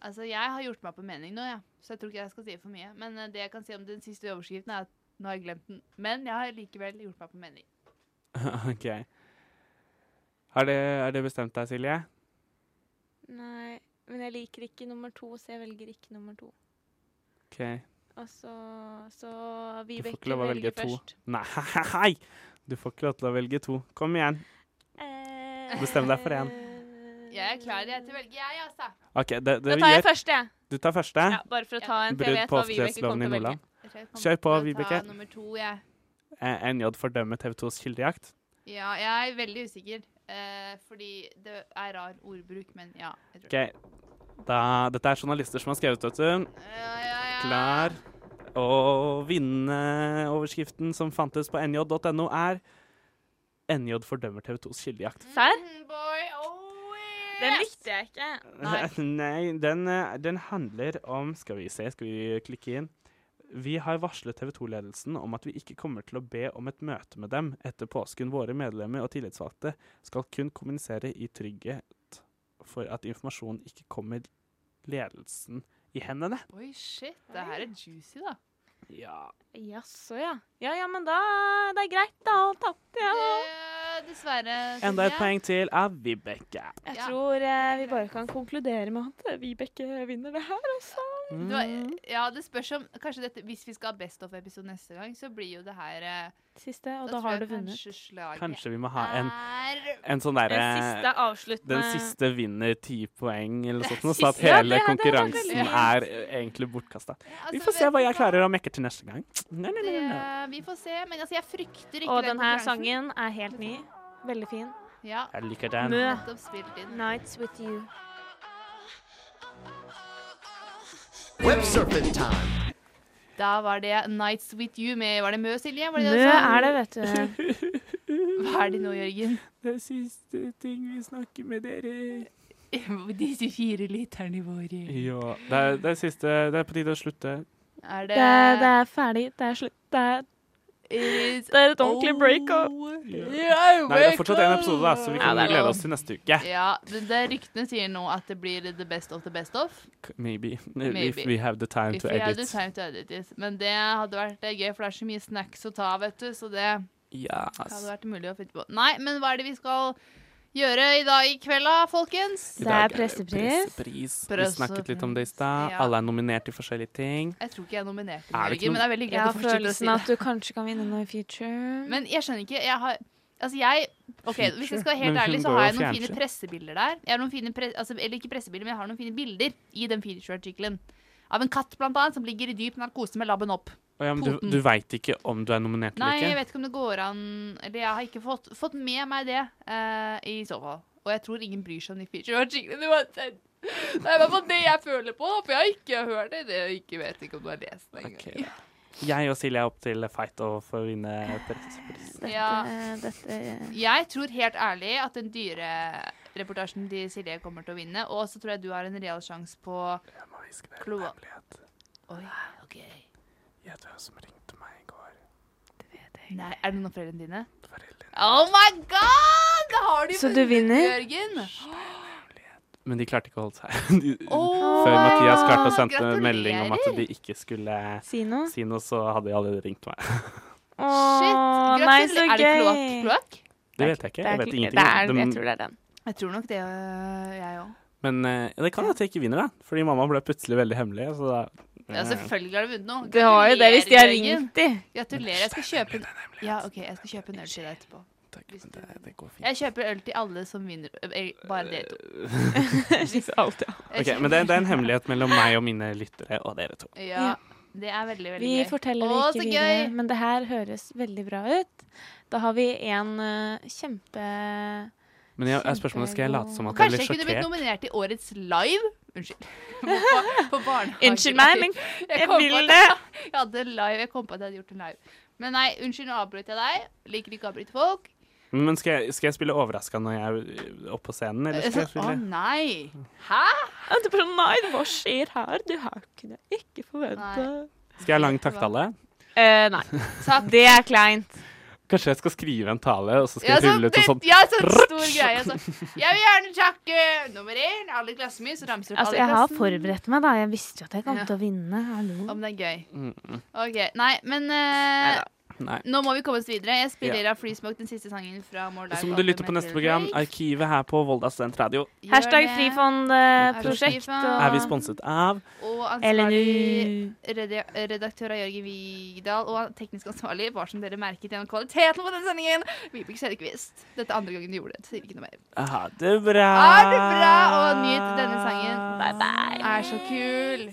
Speaker 3: Altså, Jeg har gjort meg på mening nå, ja. så jeg tror ikke jeg skal si for mye. Men eh, det jeg kan si om den siste overskriften, er at nå har jeg glemt den. Men jeg har likevel gjort meg på mening.
Speaker 4: OK. Har det, er det bestemt deg, Silje?
Speaker 5: Nei, men jeg liker ikke nummer to, så jeg velger ikke nummer to.
Speaker 4: OK.
Speaker 5: Og så, så
Speaker 4: Du får
Speaker 5: Vibeke
Speaker 4: ikke lov å velge
Speaker 5: velger
Speaker 4: to.
Speaker 5: først.
Speaker 4: Nei, hei! Du får ikke lov til å velge to. Kom igjen. Bestem deg for én.
Speaker 3: Jeg er klar jeg til å velge, jeg, altså.
Speaker 4: OK, det, det
Speaker 5: Da
Speaker 4: vi
Speaker 5: tar jeg
Speaker 4: gjør-
Speaker 5: første, jeg.
Speaker 4: Du tar første?
Speaker 5: Ja, bare for å ta en, for jeg
Speaker 4: Brudd
Speaker 5: vet
Speaker 4: på
Speaker 5: hva Vibeke
Speaker 4: offentlighetsloven
Speaker 5: kommer
Speaker 4: i
Speaker 5: til å velge.
Speaker 4: Nordland.
Speaker 3: Jeg tror jeg kommer
Speaker 4: Kjør på,
Speaker 3: til å
Speaker 4: Vibeke.
Speaker 3: Ta nummer to, jeg.
Speaker 4: Eh, NJ fordømmer TV 2s kildejakt.
Speaker 3: Ja, jeg er veldig usikker. eh, fordi det er rar ordbruk, men ja. Jeg tror.
Speaker 4: Ok, da, Dette er journalister som har skrevet, vet du. Klar. Og vinneoverskriften som fantes på nj.no, er NJ fordømmer TV 2s kildejakt.
Speaker 5: Serr?
Speaker 3: Mm, oh,
Speaker 14: Den likte jeg ikke.
Speaker 4: Nei, den, eh, den handler om Skal vi se, skal vi klikke inn? Vi har varslet TV 2-ledelsen om at vi ikke kommer til å be om et møte med dem etter påsken. Våre medlemmer og tillitsvalgte skal kun kommunisere i trygghet for at informasjonen ikke kommer ledelsen i hendene.
Speaker 3: Oi, shit. Det her er juicy, da.
Speaker 4: Ja.
Speaker 5: Jaså, ja. Ja ja, men da Det er greit, da. Tapte jeg.
Speaker 3: Eh, dessverre.
Speaker 4: Enda et
Speaker 5: Ja.
Speaker 4: poeng til av Vibeke.
Speaker 5: Jeg tror eh, vi bare kan konkludere med at Vibeke eh, vinner det her, altså.
Speaker 4: Mm,
Speaker 3: Det var, ja, det spørs om Kanskje dette, hvis vi skal ha Best of-episode neste gang, så blir jo det her eh,
Speaker 5: Siste, og
Speaker 3: da
Speaker 5: da
Speaker 3: tror
Speaker 5: har
Speaker 3: jeg
Speaker 5: du vunnet.
Speaker 3: kanskje slaget
Speaker 4: Kanskje vi må ha en,
Speaker 3: er-
Speaker 4: en sånn derre
Speaker 14: En siste avsluttende-
Speaker 4: Den
Speaker 5: Mm.
Speaker 4: siste vinner ti poeng, eller noe sånt, noe,
Speaker 14: Siste-
Speaker 4: så at
Speaker 14: Ja, det-
Speaker 4: hele
Speaker 14: det hadde vært
Speaker 4: konkurransen
Speaker 14: veldig
Speaker 4: er eh, egentlig bortkasta.
Speaker 3: Altså,
Speaker 4: Vi får se hva jeg klarer å mekke til neste gang. Nei, nei, nei, nei.
Speaker 3: Eh, vi får se, men altså, jeg frykter ikke
Speaker 5: Og den her
Speaker 3: konkurransen.
Speaker 5: sangen er helt ny. Veldig fin.
Speaker 3: Ja.
Speaker 4: Jeg liker den.
Speaker 5: Mø.
Speaker 3: Nettopp spilt inn.
Speaker 5: Nights with you.
Speaker 2: Web surfing time.
Speaker 3: Da var det 'Nights With You' med Var det Mø, Silje? Var det
Speaker 5: Mø
Speaker 3: det du sa?
Speaker 5: er det, vet du.
Speaker 3: Hva er det nå, Jørgen?
Speaker 4: Det er siste ting vi snakker med dere.
Speaker 3: Disse fire literne våre.
Speaker 4: Ja, det er, det er siste Det er på tide å slutte.
Speaker 3: Er
Speaker 5: Det,
Speaker 3: det
Speaker 5: er- det er ferdig. Det er slutt. Det er,
Speaker 3: It is
Speaker 5: det er et ordentlig breakup.
Speaker 4: Nei, det er fortsatt en episode, da, så vi
Speaker 5: Ja,
Speaker 4: kan
Speaker 5: det er
Speaker 4: glede
Speaker 5: lov.
Speaker 4: oss til neste uke.
Speaker 3: Ja, det, det ryktene sier nå at det blir the best of the best of.
Speaker 4: Maybe. If
Speaker 3: Maybe.
Speaker 4: we have the time
Speaker 3: If
Speaker 4: to
Speaker 3: we have the
Speaker 4: edit.
Speaker 3: time to edit it. Men det hadde vært eh, gøy, for det er så mye snacks å ta, vet du. Så det
Speaker 4: Ja,
Speaker 3: hadde vært mulig å finne på. Nei, men hva er det vi skal gjøre i dag i kveld, da, folkens?
Speaker 4: I dag pressepris. Vi snakket litt om det i stad.
Speaker 3: Ja.
Speaker 4: Alle er nominert til forskjellige ting.
Speaker 3: Jeg tror ikke jeg nominerte
Speaker 4: Er
Speaker 3: den,
Speaker 4: det ikke
Speaker 3: Jørgen, men det er veldig
Speaker 5: Jeg
Speaker 3: greit å
Speaker 5: har
Speaker 3: fortsette å si
Speaker 5: følelsen at
Speaker 3: det.
Speaker 5: du kanskje kan vinne noe i future.
Speaker 3: Men jeg skjønner ikke, jeg har... Altså jeg, ok, hvis jeg skal være helt
Speaker 5: Men hun
Speaker 3: ærlig, så
Speaker 5: går
Speaker 3: har jeg
Speaker 5: jo
Speaker 3: noen fine
Speaker 5: fjernsyn.
Speaker 3: pressebilder der. Jeg har noen fine pre altså, eller ikke pressebilder, men jeg har noen fine bilder i den feature-artiklen. Av en katt, blant annet, som ligger i dyp narkose med labben opp.
Speaker 4: Å ja, men du,
Speaker 3: Poten.
Speaker 4: du veit ikke om du er nominert
Speaker 3: Nei, jeg
Speaker 4: eller ikke?
Speaker 3: vet ikke om det går an Eller jeg har ikke fått, fått med meg det eh, i så fall. Og jeg tror ingen bryr seg om de feature-artiklene. uansett. Det er i hvert fall det jeg føler på, da, for jeg har ikke hørt det. det jeg ikke vet ikke om du har lest det engang.
Speaker 4: Ok, Jeg og Silje er opp til fight og for å vinne pressepris.
Speaker 5: Dette,
Speaker 3: Ja.
Speaker 5: Eh, dette eh,
Speaker 3: Jeg tror helt ærlig at den dyre reportasjen til Silje kommer til å vinne, og så tror jeg du har en real sjanse på kloa. Oi, ok.
Speaker 4: Gjett hvem som ringte meg i går.
Speaker 3: Nei, er det noen av foreldrene dine? Oh my god! Da har du
Speaker 4: Så
Speaker 3: vunnet,
Speaker 4: du vinner?
Speaker 3: Jørgen.
Speaker 4: Men de klarte ikke å holde seg. De,
Speaker 3: Åh,
Speaker 4: før Mathias klarte å sende
Speaker 3: gratulerer!
Speaker 4: melding om at de ikke skulle
Speaker 5: Si noe?
Speaker 4: så hadde de allerede ringt meg.
Speaker 3: Shit.
Speaker 5: Åh, nei,
Speaker 3: gratulerer.
Speaker 5: så
Speaker 3: Er det kloakk?
Speaker 5: gøy.
Speaker 3: kloakk?
Speaker 4: Det vet jeg ikke. Jeg vet ingenting.
Speaker 5: Det er,
Speaker 4: De-
Speaker 5: jeg tror det er den.
Speaker 3: Jeg tror nok det, øh, jeg òg.
Speaker 4: Men eh, det kan at jeg ikke vinner, da. Fordi mamma ble plutselig veldig hemmelig. Så da, Eh,
Speaker 3: Ja, selvfølgelig har du vunnet noe.
Speaker 5: Det har jo det hvis de har
Speaker 3: Gratulerer, Jørgen.
Speaker 5: ringt de.
Speaker 3: Gratulerer. Jeg skal kjøpe en Ja, OK, jeg skal kjøpe en øl til deg etterpå. Hvis du- Jeg køper øl til alle som vinner. øh, eh, Bare dere to.
Speaker 4: alltid. men det, det er en hemmelighet mellom meg og mine lyttere og dere to.
Speaker 3: Ja. Det er veldig, veldig
Speaker 5: Vi
Speaker 3: gøy.
Speaker 5: forteller det
Speaker 3: Å,
Speaker 5: ikke
Speaker 3: så
Speaker 5: videre,
Speaker 3: gøy!
Speaker 5: men det her høres veldig bra ut. Da har vi en eh, kjempe...
Speaker 4: Men jeg, er spørsmålet skal jeg late som at jeg
Speaker 3: Kanskje
Speaker 4: ble
Speaker 3: jeg kunne blitt
Speaker 4: sjokkert?
Speaker 3: nominert til Årets Live? Unnskyld. På, på barnehage.
Speaker 5: Unnskyld meg, men jeg
Speaker 3: kom på
Speaker 5: vil
Speaker 3: at-
Speaker 5: det.
Speaker 3: Jeg hadde live, jeg kom på at jeg hadde gjort en live. Men nei, unnskyld, nå avbrøt jeg deg. Liker ikke å avbryte folk.
Speaker 4: Men skal jeg, skal jeg spille overraska når jeg er oppe på scenen, eller skal jeg
Speaker 3: Å
Speaker 4: spille
Speaker 3: nei! Hæ?
Speaker 5: Nei, hva skjer her? Du har kunne ikke forvente.
Speaker 4: Skal jeg ha lang taktale?
Speaker 5: nei. Det er kleint.
Speaker 4: Kanskje jeg skal skrive en tale, og så skal
Speaker 3: Ja,
Speaker 4: jeg
Speaker 3: så
Speaker 4: rulle ut en sånn
Speaker 3: Ja, sånn stor greie. sånn. Jeg vil gjerne takke nummer én, alle i klassen min, så ramser du opp
Speaker 5: Altså,
Speaker 3: alle i
Speaker 5: jeg har
Speaker 3: klassen.
Speaker 5: forberedt meg da. Jeg visste jo at jeg kom til å vinne. Hallo.
Speaker 3: Om det er gøy.
Speaker 4: Mm, mm.
Speaker 3: OK. Nei, men eh,
Speaker 4: Nei.
Speaker 3: nå må vi komme oss videre. Jeg spiller
Speaker 4: Ja.
Speaker 3: av Freesmoke den siste sangen fra More Life.
Speaker 4: Så må du lytte på neste program, Arkivet her på Volda Studentradio.
Speaker 3: Gjør
Speaker 5: Hashtag eh,
Speaker 3: det.
Speaker 5: frifondprosjekt.
Speaker 4: Er vi sponset av
Speaker 3: Og
Speaker 5: LNU.
Speaker 3: ansvarlig redi- redaktør av Jørgen Vigdal og teknisk ansvarlig var som dere merket gjennom kvaliteten på den sendingen, Vibeke Sørkvist. Dette er andre gangen du gjorde det, så sier ikke noe mer.
Speaker 4: Ha det bra!
Speaker 3: Ha det bra, og nyt denne sangen. Bye bye. Er så kul.